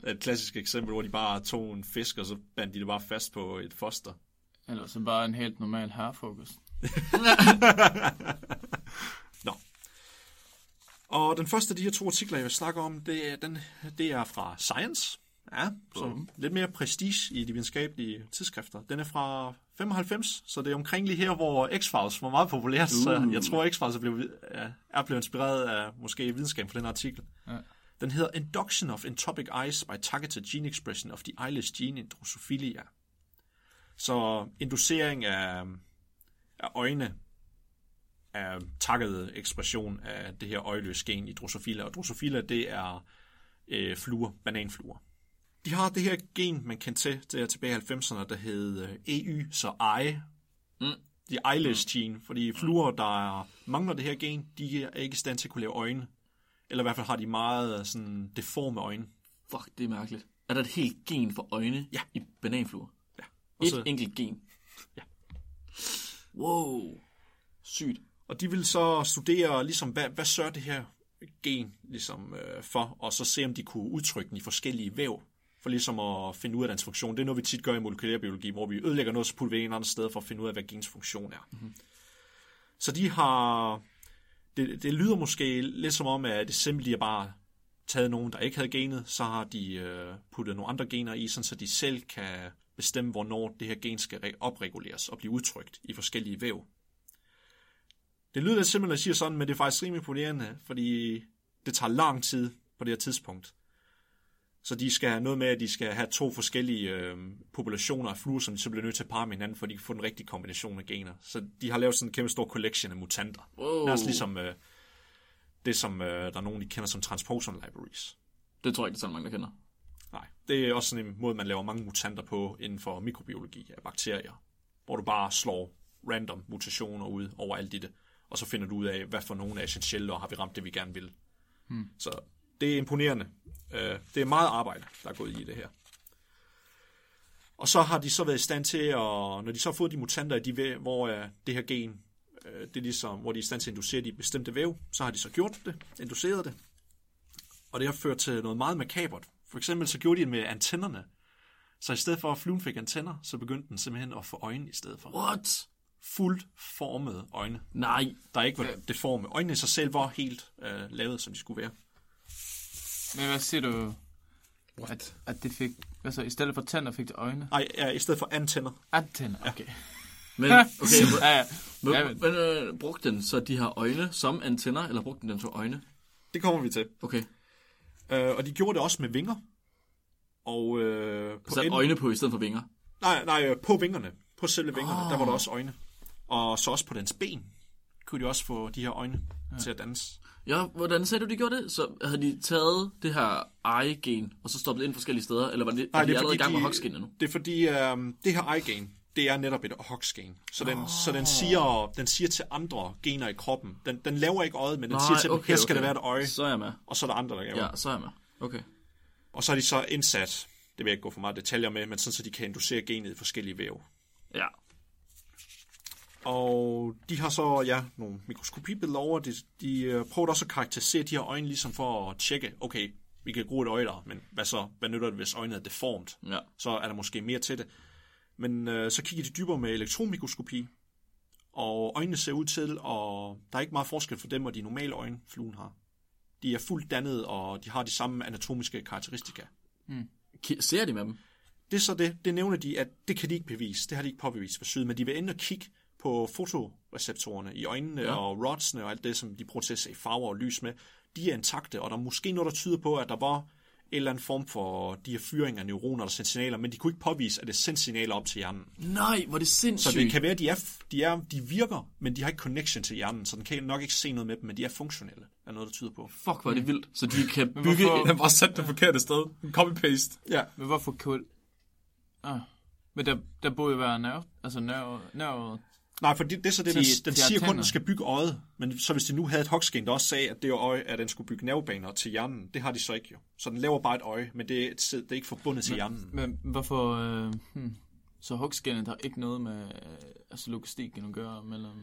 Et klassisk eksempel, hvor de bare tog en fisk, og så bandt de det bare fast på et foster.
Eller så bare en helt normal herrefokus.
Og den første af de her to artikler, jeg vil snakke om, det er, den, det er fra Science. Ja, så lidt mere prestige i de videnskabelige tidsskrifter. Den er fra 95, så det er omkring lige her, hvor X-Files var meget populært. Uh. Så jeg tror, X-Files er blevet, er- er blevet inspireret af måske videnskaben for den her artikel. Ja. Den hedder Induction of Entopic Eyes by Targeted Gene Expression of the Eyeless Gene in Drosophila. Så inducering af, af øjne er takket ekspression af det her øjeløse gen i drosophila. Og drosophila, det er øh, fluer, bananfluer. De har det her gen, man kan til, det er tilbage i 90'erne, der hed øh, EY, så eye.
Mm.
De eyeless gene, fordi fluer, der mangler det her gen, de er ikke i stand til at kunne lave øjne. Eller i hvert fald har de meget øh, sådan deforme øjne.
Fuck, det er mærkeligt. Er der et helt gen for øjne
Ja.
i bananfluer? Ja.
Og
Et
så-
enkelt gen?
Ja.
Wow. Sygt.
Og de vil så studere, ligesom, hvad, hvad sørger det her gen ligesom, øh, for, og så se, om de kunne udtrykke den i forskellige væv, for ligesom at finde ud af dens funktion. Det er noget, vi tit gør i molekylærbiologi, hvor vi ødelægger noget, så putter vi det ind et andet sted for at finde ud af, hvad gens funktion er. Mm-hmm. Så de har... Det, det lyder måske lidt som om, at det simpelthen er bare taget nogen, der ikke havde genet, så har de øh, puttet nogle andre gener i, sådan så de selv kan bestemme, hvornår det her gen skal re- opreguleres og blive udtrykt i forskellige væv. Det lyder lidt simpelt, at jeg siger sådan, men det er faktisk rimelig imponerende, fordi det tager lang tid på det her tidspunkt. Så de skal have noget med, at de skal have to forskellige øh, populationer af fluer, som de så bliver nødt til at parre med hinanden, for at de kan få den rigtige kombination af gener. Så de har lavet sådan en kæmpe stor collection af mutanter.
Wow.
Det er altså ligesom øh, det, som øh, der er nogen, de kender som transposon libraries.
Det tror jeg ikke, det er så mange, der kender.
Nej, det er også sådan en måde, man laver mange mutanter på inden for mikrobiologi af bakterier, hvor du bare slår random mutationer ud over alt i det, og så finder du ud af, hvad for nogle er essentielle, og har vi ramt det, vi gerne vil. Hmm. Så det er imponerende. Øh, Det er meget arbejde, der er gået i det her. Og så har de så været i stand til, at, når de så har fået de mutanter, i de væv, hvor øh, det her gen, øh, det er ligesom, hvor de er i stand til at inducere de bestemte væv, så har de så gjort det, induceret det, og det har ført til noget meget makabert. For eksempel så gjorde de det med antennerne. Så i stedet for at fluen fik antenner, så begyndte den simpelthen at få øjne i stedet for.
What?
Fuldt formede øjne.
Nej.
Der ikke var deforme. Øjnene i sig selv var helt øh, lavet, som de skulle være.
Men hvad siger du? What? At, at det fik... Altså, i stedet for tænder fik det øjne.
Nej, ja, i stedet for antenner.
At tænder, okay.
Men, okay,
okay. ja, ja.
men,
Ja, men-
men øh, brugte den så de her øjne som antenner, eller brugte den den som øjne?
Det kommer vi til.
Okay,
Øh, og de gjorde det også med vinger. Og øh, på,
sat
enden-
øjne på i stedet for vinger.
Nej, nej, øh, på vingerne. På selve vingerne, oh. der var der også øjne. Og så også på dens ben kunne de også få de her øjne ja. til at danse.
Ja, hvordan sagde du, de gjorde det? Så havde de taget det her eje-gen, og så stoppet det ind forskellige steder? Eller var det, Nej, de allerede i gang med hokskin endnu?
Det er fordi, øh, det her eye-gain, det er netop et hox-gain. Så, den, oh. så
Ah.
den, siger, den siger til andre gener i kroppen. Den, den laver ikke øjet, men den Nej, siger til okay, dem, her skal okay. der være et øje,
Så er jeg med.
og så er der andre, der laver. Ja.
Ja, så er jeg med. Okay.
Og så er de så indsat, det vil jeg ikke gå for meget detaljer med, men sådan, så de kan inducere genet i forskellige væv.
Ja.
Og de har så ja, nogle mikroskopibilleder over. De, de øh, prøver også at karakterisere de her øjne, ligesom for at tjekke, okay, vi kan bruge et øje der, men hvad så? Hvad nytter det, hvis øjnet er deformt?
Ja.
så er der måske mere til det. Men øh, så kigger de dybere med elektronmikroskopi, og øjnene ser ud til, og der er ikke meget forskel for dem og de normale øjne, fluen har. De er fuldt dannet, og de har de samme anatomiske karakteristika.
Ki- Ser de med dem?
Det er så det, det nævner de, at det kan de ikke bevise, det har de ikke påbevist forsøget, men de vil ende og kigge på fotoreceptorerne i øjnene ja. og rodsene og alt det, som de bruger til at se farver og lys med, de er intakte, og der er måske noget, der tyder på, at der var en eller anden form for de her fyringer af neuroner, der sendte signaler, men de kunne ikke påvise, at det sendte signaler op til hjernen.
Nej, hvor er det
Så
sindssygt.
det kan være, at de, er, de, er, de virker, men de har ikke connection til hjernen, så den kan nok ikke se noget med dem, men de er funktionelle, er noget, der tyder på.
Fuck, hvor er det vildt. Så de kan bygge...
hvorfor-
et-
Den var sat det forkerte sted. En copy-paste.
Ja.
Men hvorfor kul? Ah. Men der, der burde jo være nerve, altså nerve, nerve.
Nej, for det, det er så det,
De-
den,
de
den
har
siger kun, at
tænder.
den skal bygge øjet, men så hvis de nu havde et hokskin, der også sagde, at det øje, at den skulle bygge nervebaner til hjernen, det har de så ikke jo. Så den laver bare et øje, men det, er- det er ikke forbundet til hjernen.
Men hvorfor, øh, hmm. så hugskænet har ikke noget med øh, altså logistikken at gøre øh, mellem...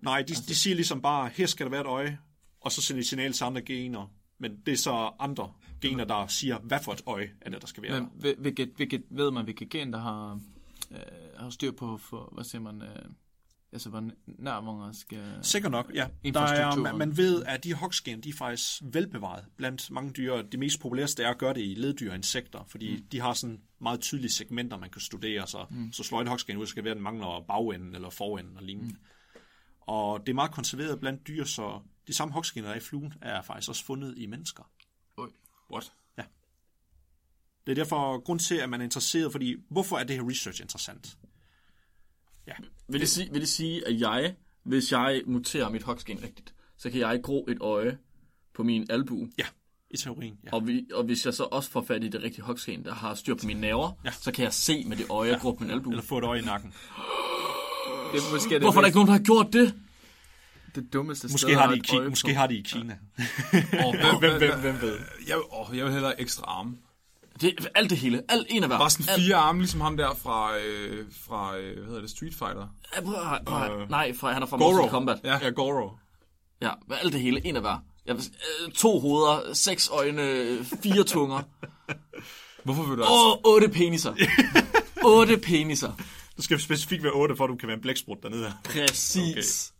Nej, de, de siger ligesom bare, her skal der være et øje, og så sender de signal til andre gener. Men det er så andre gener, der siger, hvad for et øje er det, der skal være.
Ja.
der.
Men hvil- hvilket, hvilket, ved man, hvilket gen, der har, øh, har styr på, for, hvad siger man, øh, altså hvor nærmere skal...
Sikkert nok, ja. Der er,
Infrastrukturen.
man, man ved, at de hoksgen, de er faktisk velbevaret blandt mange dyr. og Det mest populæreste er at gøre det i leddyr og insekter, fordi mm. de har sådan meget tydelige segmenter, man kan studere. Så, mm. så slår et hoksgen ud, så kan det være, at den mangler bagenden eller forenden og lignende. Mm. Og det er meget konserveret blandt dyr, så de samme hoksgener, der er i fluen, er faktisk også fundet i mennesker.
What?
Det er derfor grund til, at man er interesseret, fordi hvorfor er det her research interessant?
Vil det, sige, vil det sige, at jeg, hvis jeg muterer mit hokskin rigtigt, så kan jeg gro et øje på min albue.
Ja, i teorien. Ja.
Og, vi, og hvis jeg så også får fat i det rigtige hokskin, der har styr på mine nerver, ja. så kan jeg se med det øje, jeg gro på min albue.
Eller få et øje i nakken.
Det er måske det,
Hvorfor er der ikke nogen, der har gjort det?
det dummeste
Måske
sted
har
at
de
have
i,
et øje
Ki-
på.
måske har de i Kina.
Oh,
Hvem, hvem, hvem ved?
Jeg, oh, jeg vil hellere have ekstra arme.
det? Alt det hele. Alt en af hver.
Bare sådan
Alt-
fire arme, ligesom ham der fra, øh, fra øh, hvad hedder det, Street Fighter.
Ja, prøv at- prøv at- Nej, for han er fra
Goro.
Mortal Kombat.
Ja, ja Goro.
Ja, med alt det hele. En af hver. Ja, hvis- øh, to hoveder, seks øjne, øh, fire tunger
Hvorfor vil du altså- også?
og otte peniser. otte peniser.
Du skal specifikt være 8, for at du kan være en blæksprut dernede. her.
Præcis.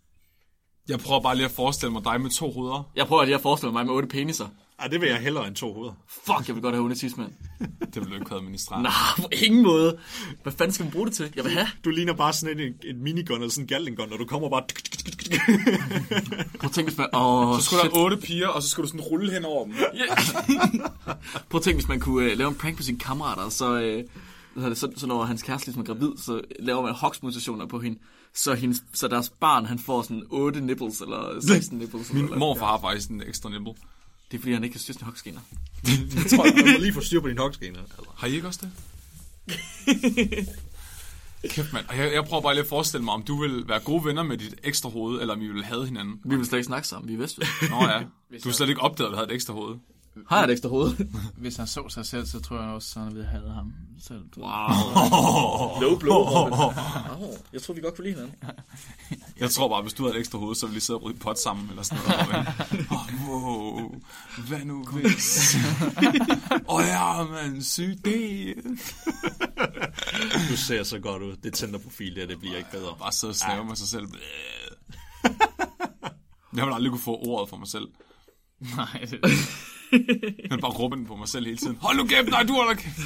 Jeg prøver bare lige at forestille mig dig med to hoveder.
Jeg prøver lige at forestille mig med otte peniser.
Ej, det vil jeg hellere end to hoveder.
Fuck, jeg vil godt have onatismand.
Det ville du ikke have administreret.
Nej, på ingen måde. Hvad fanden skal man bruge det til? Jeg vil have.
Du ligner bare sådan en, en minigun eller sådan en gatlingun, når du kommer bare...
Prøv at tænke, hvis man... Åh,
Så skulle der otte piger, og så skulle du sådan rulle hen over dem.
shit. Prøv at tænke, hvis man kunne øh, lave en prank på sine kammerater, og så, øh, hvad hedder det, så, så når hans kæreste ligesom er gravid, så laver man hoksmutationer på hende, så, hendes, så deres barn, han får sådan 8 nipples, eller 16 nipples. Min eller,
Morfar har faktisk en ekstra nipple.
Det er fordi, han ikke kan styre sine hoksgener.
Jeg tror, jeg må lige få styr på din hoksgener.
Har I ikke også det? Kæft, mand. Og Jeg, jeg prøver bare lige at forestille mig, om du vil være gode venner med dit ekstra hoved, eller om I vil have hinanden.
Vi vil slet ikke snakke sammen, vi er vestjyder.
Nå ja, du har slet ikke opdaget, at du havde et ekstra hoved.
Har jeg et ekstra hoved?
Hvis han så sig selv, så tror jeg også, at han ville have ham selv.
Low blow. Au, Jeg tror, vi godt kunne lide hinanden.
Jeg tror bare, hvis du havde et ekstra hoved, så ville vi sidde og ryge pot sammen, eller sådan noget. Åh, oh, wow. Hvad nu hvis? Åh oh, ja, man, syg det.
Du ser så godt ud. Det tænder profil der, det bliver ikke bedre.
Bare sidde og snæve med sig selv. Jeg vil aldrig kunne få ordet for mig selv.
Nej, det,
Jeg vil bare råbe den på mig selv hele tiden. Hold nu kæft, nej, du holder kæft.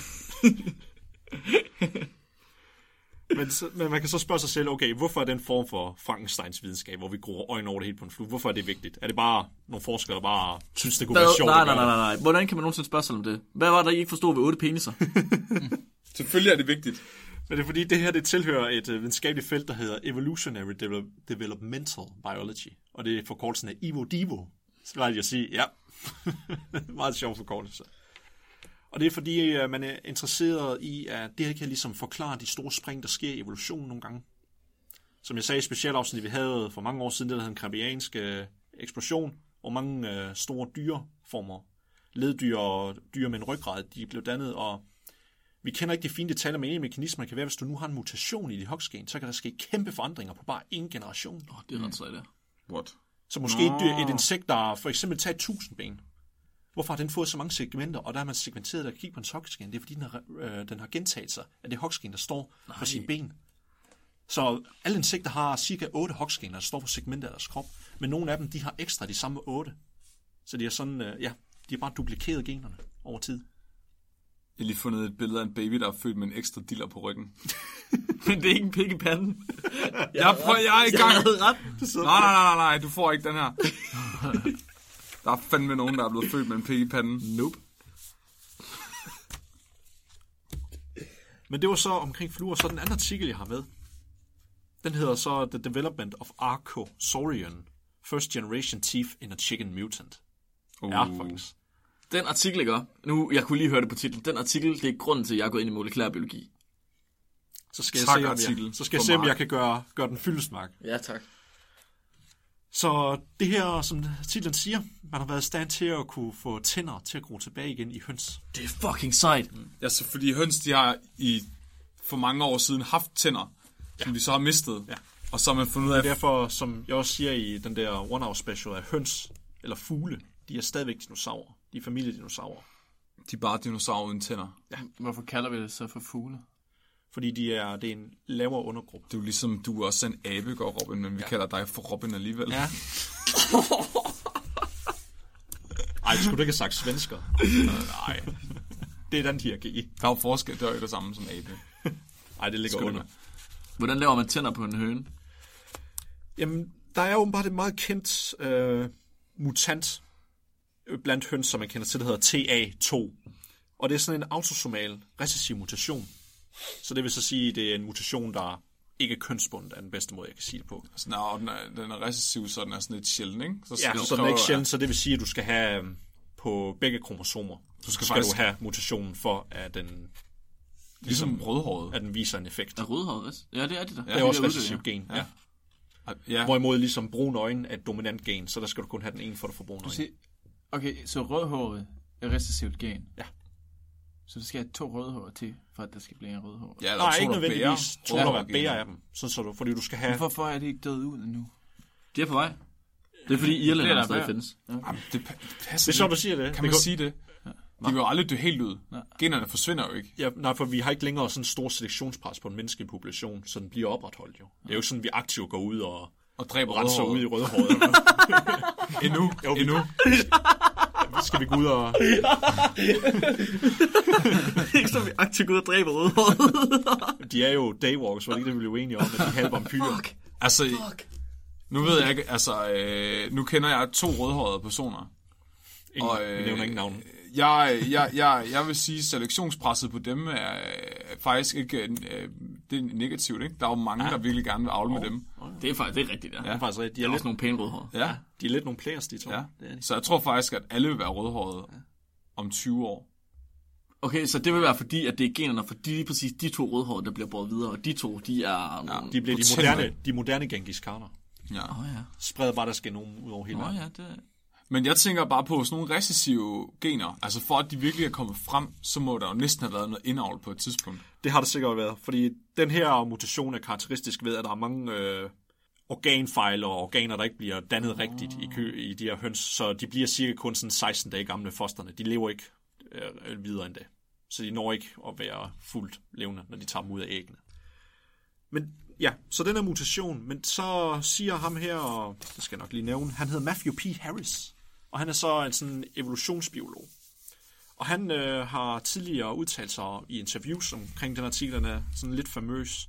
Men, så, men man kan så spørge sig selv, okay, hvorfor er den form for Frankensteins videnskab, hvor vi gror øjne over det hele på en flue, hvorfor er det vigtigt? Er det bare nogle forskere, der bare synes, det kunne være
Hvad?
sjovt?
Nej,
at
nej,
gøre
nej,
det?
nej, nej. Hvordan kan man nogensinde spørge sig om det? Hvad var der, I ikke forstod ved otte peniser?
Selvfølgelig er det vigtigt.
Men det er fordi, det her det tilhører et øh, videnskabeligt felt, der hedder Evolutionary Devel- Developmental Biology. Og det er forkortelsen af EVO-DIVO. Så plejer de at sige, ja. Meget sjov forkortelse. Og det er fordi, øh, man er interesseret i, at det her kan ligesom forklare de store spring, der sker i evolutionen nogle gange. Som jeg sagde i specialafsnit, vi havde for mange år siden, det der hed den krambianske øh, eksplosion, hvor mange øh, store dyreformer, leddyr og dyr med en ryggrad, de blev dannet, og vi kender ikke de fine detaljer, men en af mekanismerne kan være, hvis du nu har en mutation i dit hoksgen, så kan der ske kæmpe forandringer på bare én generation.
Åh, det er ret sejt, det.
What?
Så måske et, dyr, et insekt, der for eksempel tager 1000 ben. Hvorfor har den fået så mange segmenter, og der har man segmenteret der kigge på en hoksgen? Det er fordi, den har, øh, den har gentaget sig af det hoksgen, der står Nej. på sine ben. Så alle insekter har cirka 8 hoksgener, der står på segmenter af deres krop. Men nogle af dem, de har ekstra de samme 8. Så de er sådan, øh, ja, de har bare duplikeret generne over tid.
Jeg har lige fundet et billede af en baby, der er født med en ekstra diller på ryggen.
Men det er ikke en pik i panden.
Jeg prøver, jeg er i gang.
Jeg havde ret.
Nej, nej, nej, nej, du får ikke den her. Der er fandme nogen, der er blevet født med en pik i panden. Nope.
Men det var så omkring fluer, så den anden artikel, jeg har med, den hedder så The Development of Archosaurian, First Generation Thief in a Chicken Mutant. Uh. Ja, faktisk.
Den artikel, ikke? Nu, jeg kunne lige høre det på titlen. Den artikel, det er grunden til, at jeg går ind i molekylær biologi.
Så skal jeg
Tak,
se, om jeg,
artikel
så skal jeg,
for
se, om
Mark.
jeg kan gøre, gøre den fyldes, Mark.
Ja, tak.
Så det her, som titlen siger, man har været i stand til at kunne få tænder til at gro tilbage igen i høns.
Det er fucking sejt.
Ja, så fordi høns, de har i for mange år siden haft tænder, ja. som de så har mistet.
Ja.
Og så har man fundet ud af,
Og derfor, som jeg også siger i den der One Hour Special, at høns eller fugle, de er stadigvæk dinosaurer. De er familiedinosaurer.
de er bare dinosaurer uden tænder.
Hvorfor kalder vi det så for fugle?
Fordi de er, det er en lavere undergruppe.
Det er jo ligesom, du er også en abe, går Robin, men vi ja. kalder dig for Robin alligevel. Ja.
Ej, skulle du ikke have sagt svensker? Nej. Det er den hierarki.
Der er jo forskel, det er jo ikke det samme som abe.
Nej, det ligger
Skulle
under.
det
Hvordan laver man tænder på en høne?
Jamen, der er åbenbart et meget kendt øh, mutant øh, blandt høns, som man kender til, der hedder TA2. Og det er sådan en autosomal recessiv mutation. Så det vil så sige, at det er en mutation, der ikke er kønsbundet, er den bedste måde, jeg kan sige det på.
Sådan, er- og Altså, den er, den er recessiv, så den er sådan lidt sjælden, ikke? Så,
Ja,
så
så den er
kræver-
ikke sjældent, så det vil sige, at du skal have øhm, på begge kromosomer. Du skal, skal
faktisk-
du have mutationen for, at den,
Ligesom rødhåret.
at den viser en effekt.
Er rødhåret res? Ja, det er det der.
Det er
de
også
der
recessiv
uddelinger.
gen, ja.
Ja,
Hvorimod ligesom brune øjne er et dominant gen, så der skal du kun have den ene for at få brune øjne.
Se, okay, så rødhåret er recessivt gen.
Ja.
Så der skal jeg to rødhåret til, for at der skal blive en rødhåret.
ja
Nej, ikke nødvendigvis. Tror du, at
at
bærer af dem, sådan så du, fordi du skal have...
Hvorfor er det ikke død ud endnu?
De er på vej. Det er fordi
Det er
Irland
der
stadig
hver.
findes.
Jamen, det, pa- det passer
Det er sjovt,
ikke.
du siger det.
Kan
Det
man sige det? De vil jo aldrig dø helt ud. Generne forsvinder jo ikke.
Ja, nej, for vi har ikke længere sådan en stor selektionspres på en menneskelig population, så den bliver opretholdt jo. Det er jo ikke sådan, at vi aktivt går ud og
Og dræber
renser ud i
rødhåret.
rødhåret.
Endnu,
Jo, vi-
endnu.
skal vi gå ud og...
Ikke så vi aktivt går ud og dræber rødhåret.
De er jo daywalkers, var det ikke det, vi blev uenige om, at de halver vampyrer.
Altså, nu ved jeg ikke, altså, øh, nu kender jeg to rødhårede personer.
Ingen,
Og,
og,
øh,
vi nævner ikke navn.
Jeg, jeg, jeg, jeg vil sige, at selektionspresset på dem er øh, faktisk ikke øh, det er negativt. Ikke? Der er jo mange, ja. der virkelig gerne vil afle med dem.
Det er faktisk det er rigtigt, der. Ja.
Ja. Faktisk, rigtigt. de,
Der er
er lidt,
også nogle pæne rødhårede.
Ja,
de er lidt nogle players, de to.
ja.
Det er de.
Så jeg tror faktisk, at alle vil være rødhårede om 20 år.
Okay, så det vil være fordi, at det er generne for de, lige præcis de to rødhårede, der bliver båret videre, og de to, de er... nogle-
De bliver de
Potentielt.
moderne, de moderne Genghis Khaner.
Ja.
Åh ja.
Spreder bare deres genom ud over hele
Åh
verden.
ja, det...
Men jeg tænker bare på sådan nogle recessive gener. Altså for at de virkelig er kommet frem, så må der jo næsten have været noget indavl på et tidspunkt.
Det har det sikkert været, fordi den her mutation er karakteristisk ved, at der er mange øh, organfejl og organer, der ikke bliver dannet oh. rigtigt i, kø, i de her høns, så de bliver cirka kun sådan 16 dage gamle fosterne. De lever ikke øh, videre end det, så de når ikke at være fuldt levende, når de tager dem ud af æggene. Men ja, så den er mutation, men så siger ham her, og det skal jeg nok lige nævne, han hedder Matthew P. Harris, og han er så en sådan evolutionsbiolog. Og han øh, har tidligere udtalt sig i interviews omkring den artikel, den er sådan lidt famøs,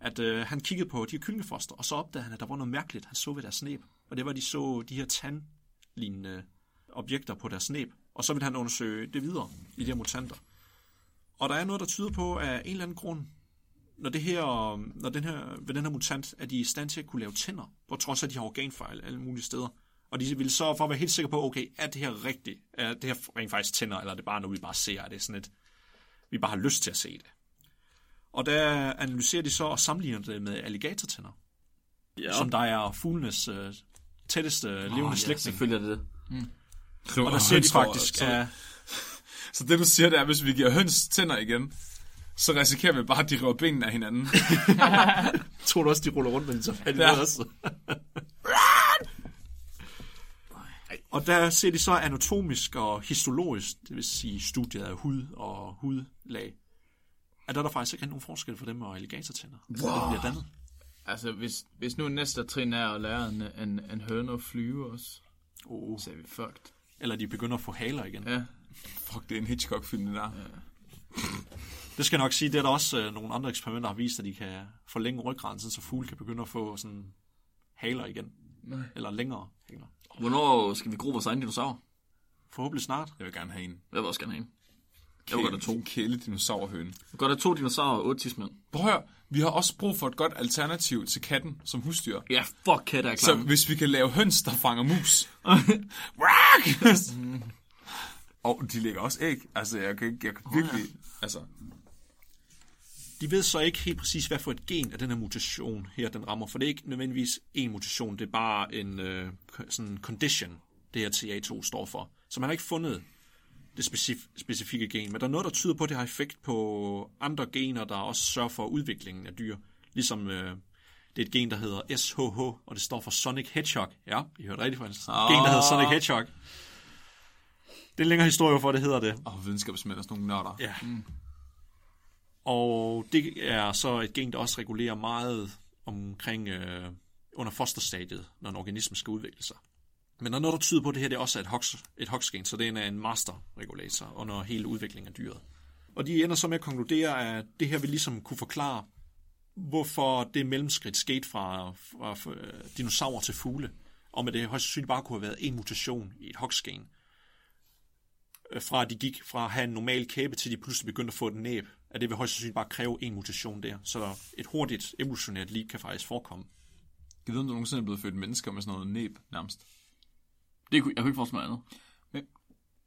at øh, han kiggede på de her kyllingefoster, og så opdagede han, at der var noget mærkeligt, han så ved deres snæb. Og det var, at de så de her tandlignende objekter på deres snæb. Og så ville han undersøge det videre i de her mutanter. Og der er noget, der tyder på, at af en eller anden grund, når, det her, når den her, ved den her mutant, er de i stand til at kunne lave tænder, på trods af, at de har organfejl alle mulige steder. Og de vil så for at være helt sikre på, okay, er det her rigtigt? Er det her rent faktisk tænder, eller er det bare noget, vi bare ser? Er det sådan et, vi bare har lyst til at se det? Og der analyserer de så og sammenligner det med alligatortænder, ja. som der er fuglenes øh, tætteste øh, levende oh,
Åh, ja,
slægtning.
selvfølgelig er det det.
og der ser de faktisk,
Så,
at
så det du siger, det er, at hvis vi giver høns tænder igen, så risikerer vi bare, at de river benene af hinanden.
tror du også, de ruller rundt med den så fat i
Ja.
ja. også? Og der ser de så anatomisk og histologisk, det vil sige studiet af hud og hudlag, at der er der faktisk ikke er nogen forskel for dem og alligatortænder. Wow. Det bliver dannet.
Altså, hvis, hvis nu næste trin er at lære en, en, en høne at flyve også,
Oh.
så er vi fucked.
Eller de begynder at få haler igen. Ja.
Ja,
Fuck, det er en Hitchcock-film, det der. Ja.
Det skal jeg nok sige, det er der også øh, nogle andre eksperimenter, der har vist, at de kan forlænge ryggraden, sådan så fugle kan begynde at få sådan haler igen. Nej. Eller længere haler.
Hvornår skal vi gro vores egen dinosaur?
Forhåbentlig snart.
Jeg vil gerne have en.
Jeg vil også gerne have en. Jeg var godt af to.
Kæle, kæle dinosaurhøne.
Godt af to dinosaurer og otte tidsmænd.
Prøv at høre, vi har også brug for et godt alternativ til katten som husdyr.
Ja, fuck kat er
Så
klar.
hvis vi kan lave høns, der fanger mus. Mm. og de lægger også æg. Altså, jeg kan, ikke- jeg kan virkelig... Altså,
De ved så ikke helt præcis, hvad for et gen af den her mutation her, den rammer. For det er ikke nødvendigvis en mutation, det er bare en øh, k- sådan condition, det her TA2 står for. Så man har ikke fundet det specif- specifikke gen, men der er noget, der tyder på, at det har effekt på andre gener, der også sørger for udviklingen af dyr. Ligesom øh, det er et gen, der hedder SHH, og det står for Sonic Hedgehog. Ja, I hørte rigtigt faktisk. Oh. Gen, der hedder Sonic Hedgehog. Det er en længere historie, hvorfor det hedder det.
og videnskabsmænd og sådan nogle nørder.
Ja. Mm. Og det er så et gen, der også regulerer meget omkring øh, under fosterstadiet, når en organisme skal udvikle sig. Men der er noget, der tyder på, at det her det også er et hox, et hox-gen, så det er en master-regulator under hele udviklingen af dyret. Og de ender så med at konkludere, at det her vil ligesom kunne forklare, hvorfor det mellemskridt skete fra, fra, fra øh, dinosaurer til fugle, og med det højst sandsynligt bare kunne have været en mutation i et hox-gen, øh, fra at de gik fra at have en normal kæbe, til de pludselig begyndte at få et næb, at det vil højst sandsynligt bare kræve en mutation der. Så et hurtigt evolutionært lige kan faktisk forekomme.
Jeg ved, om der nogensinde er blevet født mennesker med sådan noget næb, nærmest.
Det kunne, jeg kunne ikke forestille mig andet.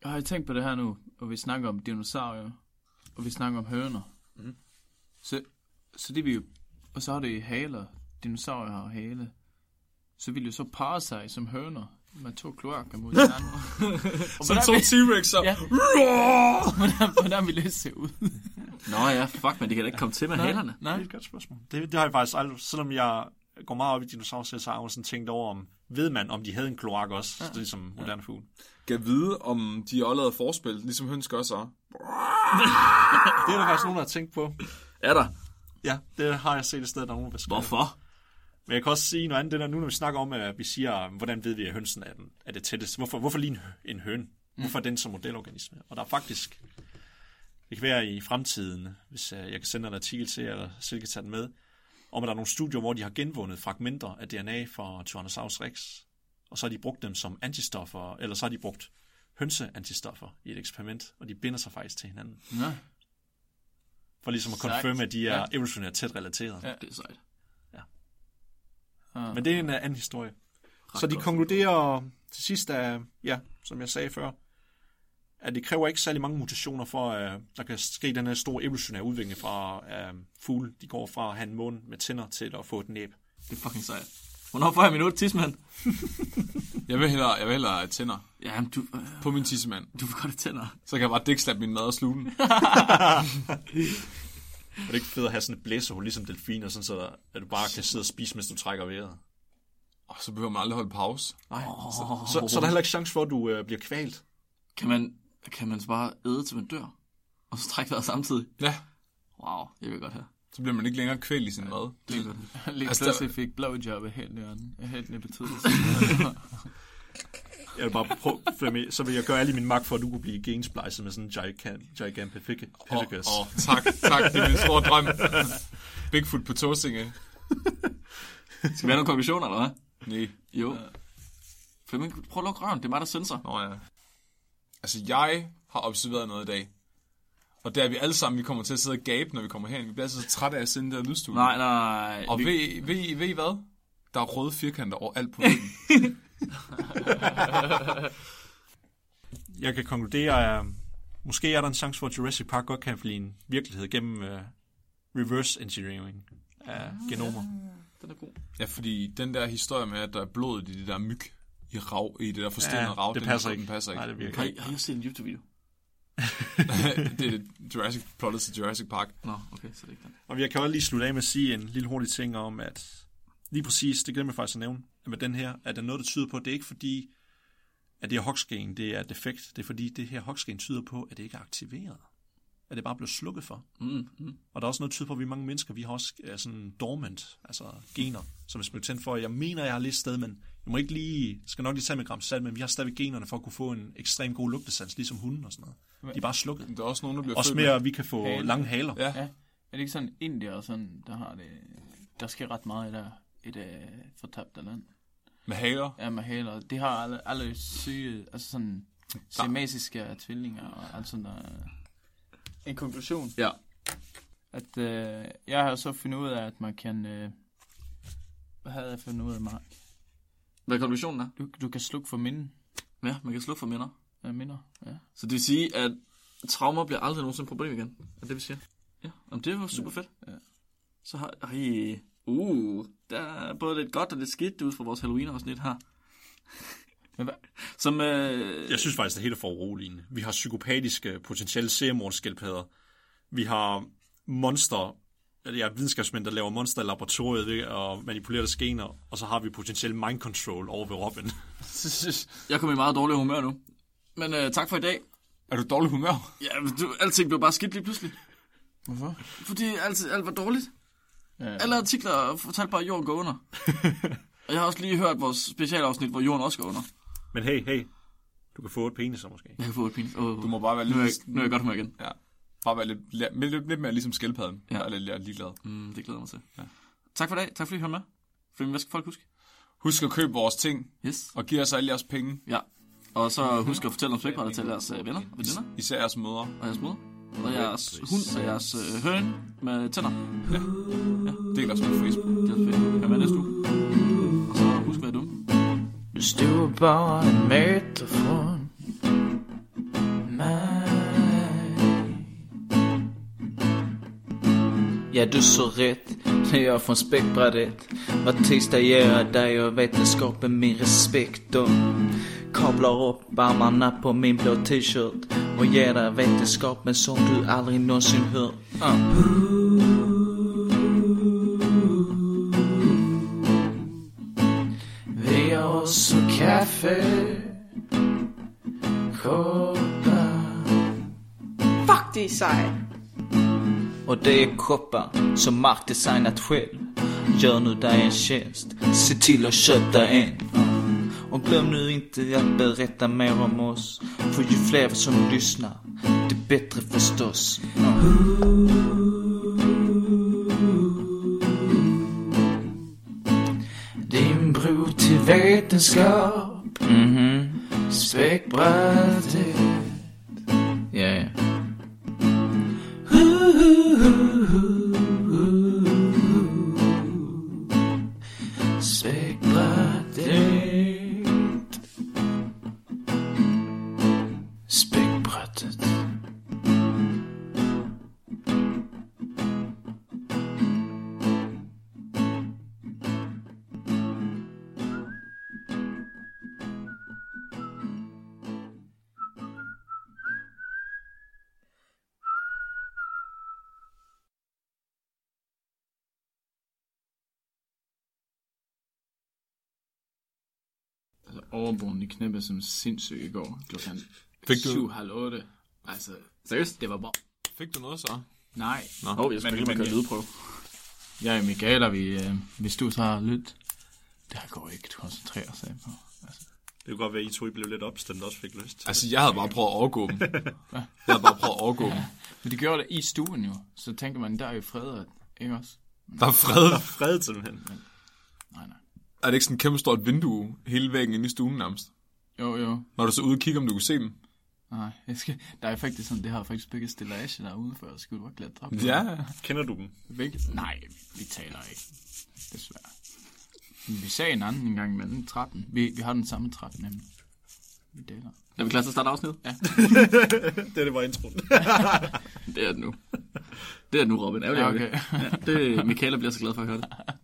Jeg har tænkt på det her nu, og vi snakker om dinosaurer, og vi snakker om høner. Mm. Så, så det vi jo, og så har det haler. Dinosaurer har hale. Så vil de jo så parre sig som høner med to kloakker mod hinanden. og
Så to
hvordan,
T-Rex'er.
Ja.
Ja.
hvordan, hvordan vil det se ud?
Nå ja, fuck, men det kan da ikke komme til med halerne.
Nej.
et godt spørgsmål. Det, det har jeg faktisk aldrig, selvom jeg går meget op i dinosaurer, så har jeg sådan tænkt over, om ved man, om de havde en kloak også, ja. ligesom moderne fugle.
Kan vide, om de allerede forspil, ligesom høns gør så.
Det er der faktisk nogen, der har tænkt på.
Er der?
Ja, det har jeg set et sted, der er nogen, der skal.
Hvorfor?
Men jeg kan også sige noget andet, det der nu, når vi snakker om, at vi siger, hvordan ved vi, at hønsen er, den, er det tættest? Hvorfor, hvorfor lige en, hø- en høn? Hvorfor er den som modelorganisme? Og der er faktisk, det kan være i fremtiden, hvis øh, jeg kan sende en artikel til jer, eller Silke kan tage den med, om at der er nogle studier, hvor de har genvundet fragmenter af DNA fra Tyrannosaurus rex, og så har de brugt dem som antistoffer, eller så har de brugt hønseantistoffer i et eksperiment, og de binder sig faktisk til hinanden.
Nå.
For ligesom at
Sejt.
konfirme, at de er
Ja.
ja. evolutionært tæt relateret.
Ja.
Det er sejt.
Men det er en øh, anden historie. så de
godt.
konkluderer til sidst, at, ja, som jeg sagde før, at det kræver ikke særlig mange mutationer for, at der kan ske den her store evolutionære udvikling fra uh, fugle. De går fra at have en mund med tænder til at få et næb.
Det er fucking sejt. Hvornår får jeg min otte tidsmand?
Jeg vil hellere, jeg vil hellere have tænder
Jamen, du, øh,
på min tissemand.
du får godt have tænder.
Så kan jeg bare dækslappe min mad og sluge den.
Og det er ikke fedt at have sådan et blæsehul, ligesom delfiner, sådan så der, at du bare kan sidde og spise, mens du trækker vejret.
Og så behøver man aldrig holde pause.
Nej, oh. så, så, så er der heller ikke chance for, at du øh, bliver kvalt.
Kan man, kan man så bare æde til man dør? Og så trække vejret samtidig?
Ja,
Wow, jeg vil godt have.
så bliver man ikke længere kvæl i sin mad.
Det vil jeg godt have.
Lige
Altså,
altså,
der-
pludselig fik blowjob af hænderne. Af hænderne betydelse.
Jeg vil bare prøve, Flemming, så vil jeg gøre alle min magt for, at du kunne blive gensplejset med sådan en gigant,
Åh,
gigantopithecus.
oh, tak, tak. Det er min store drøm. Bigfoot på Tåsinge.
Skal vi have nogle konklusioner, eller hvad?
Nej.
Jo. Flemming, prøv at lukke røven. Det er mig, der sensor.
Nå ja. Altså, jeg har observeret noget i dag. Og det er vi alle sammen, vi kommer til at sidde og gabe, når vi kommer herind. Vi bliver altid så trætte af at sende det der lydstudie.
Nej, nej.
Og
vi,
ved, I- ved, I- ved I hvad? Der er røde firkanter over alt på væggen.
jeg kan konkludere, at måske er der en chance for, at Jurassic Park godt kan blive en virkelighed gennem uh, reverse engineering af genomer.
den er god.
ja, fordi den der historie med, at der er blod i det der myg i, rav, i det der forstenede
Ja,
rav,
det
den,
passer
den, Den
ikke.
passer ikke.
Nej, det virker
Har
ikke.
I, har I også set en YouTube-video?
det er det Jurassic, plottet til Jurassic Park.
Nå, okay, så det er ikke den.
Og jeg kan også lige slutte af med at sige en lille hurtig ting om, at lige præcis, det glemmer jeg faktisk at nævne, at med den her, at der er noget, der tyder på, at det er ikke fordi, at det her hoxgen, det er defekt. Det er fordi, det her hoxgen tyder på, at det ikke er aktiveret. At det bare blev slukket for.
Mm,
Mm-hmm.
mm.
Og der er også noget tyder på, at vi er mange mennesker, vi har også øh, sådan dormant, altså gener, som er blevet tændt for. Jeg mener, jeg har lidt sted, men jeg må ikke lige, skal nok lige tage med et gram salt, men vi har stadigvæk generne for at kunne få en ekstrem god lugtesans, ligesom hunden og sådan noget. De er bare slukket.
Men Der er også nogen, der bliver
Også
født
mere,
med.
at vi kan få
Hale.
lange haler.
Ja.
Ja. Er det ikke sådan indier og sådan, der har det... Der sker ret meget i der et øh, fortabt land.
Med haler.
Ja, med haler. Det har alle, alle syge, altså sådan semesiske tvillinger og alt sådan der. en konklusion.
Ja.
At øh, jeg har så fundet ud af, at man kan... Øh, hvad havde jeg fundet ud af, Mark?
Hvad konklusionen er?
Du, du kan slukke for minden.
Ja, man kan slukke for minder.
Hvad minder? Ja.
Så det vil sige, at traumer bliver aldrig nogensinde et problem igen. Er det, vi siger? Ja, Jamen, det var super fedt.
Ja.
Så har... Ej, uh, der er både lidt godt og lidt skidt ud fra vores Halloween-afsnit her.
Men hvad?
Som, øh,
Jeg synes faktisk, det hele er for uroligende. Vi har psykopatiske, potentielle seriemordsskildpadder. Vi har monster, eller ja, videnskabsmænd, der laver monster i laboratoriet ved at manipulere deres gener, og så har vi potentielt mind control over ved Robin.
jeg kommer i meget dårlig humør nu. Men øh, tak for i dag.
Er du i dårlig humør?
Ja, du, alting blev bare skidt lige pludselig.
Hvorfor?
Fordi alt, alt var dårligt.
Ja, ja.
Alle artikler fortalte bare, at jorden går under. og jeg har også lige hørt vores specialafsnit, hvor jorden også går under.
Men hey, hey, du kan få et penis så måske.
Jeg kan få et pin. Oh,
Du må bare være
nu, er jeg,
lidt,
nu er jeg i godt humør igen.
ja, bare være lidt, lidt, lidt, lidt mere ligesom skildpadden.
Ja.
Ja. Eller lidt ligeglad.
Mm, det glæder jeg mig til. Ja. Tak for i dag. Tak fordi I hørte med. Flemming, hvad skal folk huske?
Husk at købe vores ting,
Yes.
og giv os alle jejeres penge.
Ja. Og så husk at fortælle om spækbrættet til jeres øh, venner, veninder
Især jeres mødre.
og jeres mor. Og jeres hund og jeres øh, høne med tænder.
Del os på Facebook.
Det er fedt. Hør med næste uge. Og så husk at være dumme.
Hvis du var bare en meter fra mig Ja, du så rätt när jag från spektbrädet Var tisdag gör jag där jag vetenskapen min respekt och Kablar upp armarna på min blå t-shirt och ger dig vetenskapen som du aldrig någonsin hört uh. Vi har också kaffe Koppar
Fuck, det er sejt.
Och det är koppar som Mark designat själv Gör nu dig en tjänst, se till att köpa en Och glöm nu inte att berätta mer om oss För ju fler som lyssnar, det bättre förstås
Din bro till vetenskap Mhm Späckbrädet Ja, ja Späckbrädet Späckbrädet Altså, overboen, de knæppede som sindssygt i går. Klokken
Fik du-
7, halv 8. Altså,
Seriøst?
det var bare...
Fik du noget så?
Nej.
Åh, oh, jeg skal lige køre lydprøve.
Jeg er Michael, og vi, øh, hvis du så har lyt, det her går ikke at koncentrere sig på. Altså,
Det kunne godt være, at I to I blev lidt opstemt og også fik lyst.
Altså, jeg havde bare prøvet at overgå dem. Jeg havde bare prøvet at overgå dem.
men de gjorde det i stuen jo, så tænkte man, der er jo fredet, ikke også?
Der er fred.
Fred simpelthen.
Nej, nej.
Er det ikke sådan et kæmpe stort vindue hele væggen inde i stuen nærmest?
Jo, jo.
Når du så ude og kigger, om du kunne se dem?
Nej, jeg skal, der er faktisk sådan, det har faktisk bygget stillage derude, for jeg skulle bare klatre op. på.
Kender du dem?
Hvilket? Nej, vi taler ikke. Desværre. Men vi sagde en anden en gang imellem, 13. Vi, vi har den samme 13 nemlig. Vi deler.
Er vi klar til at starte afsnittet? Ja.
Det, det var introen.
Det er det nu. Det er det nu, Robin. Ærgerlig,
Ja,
ærgerlig.
Ah, okay.
Ja, det, Michaela bliver så glad for at høre det.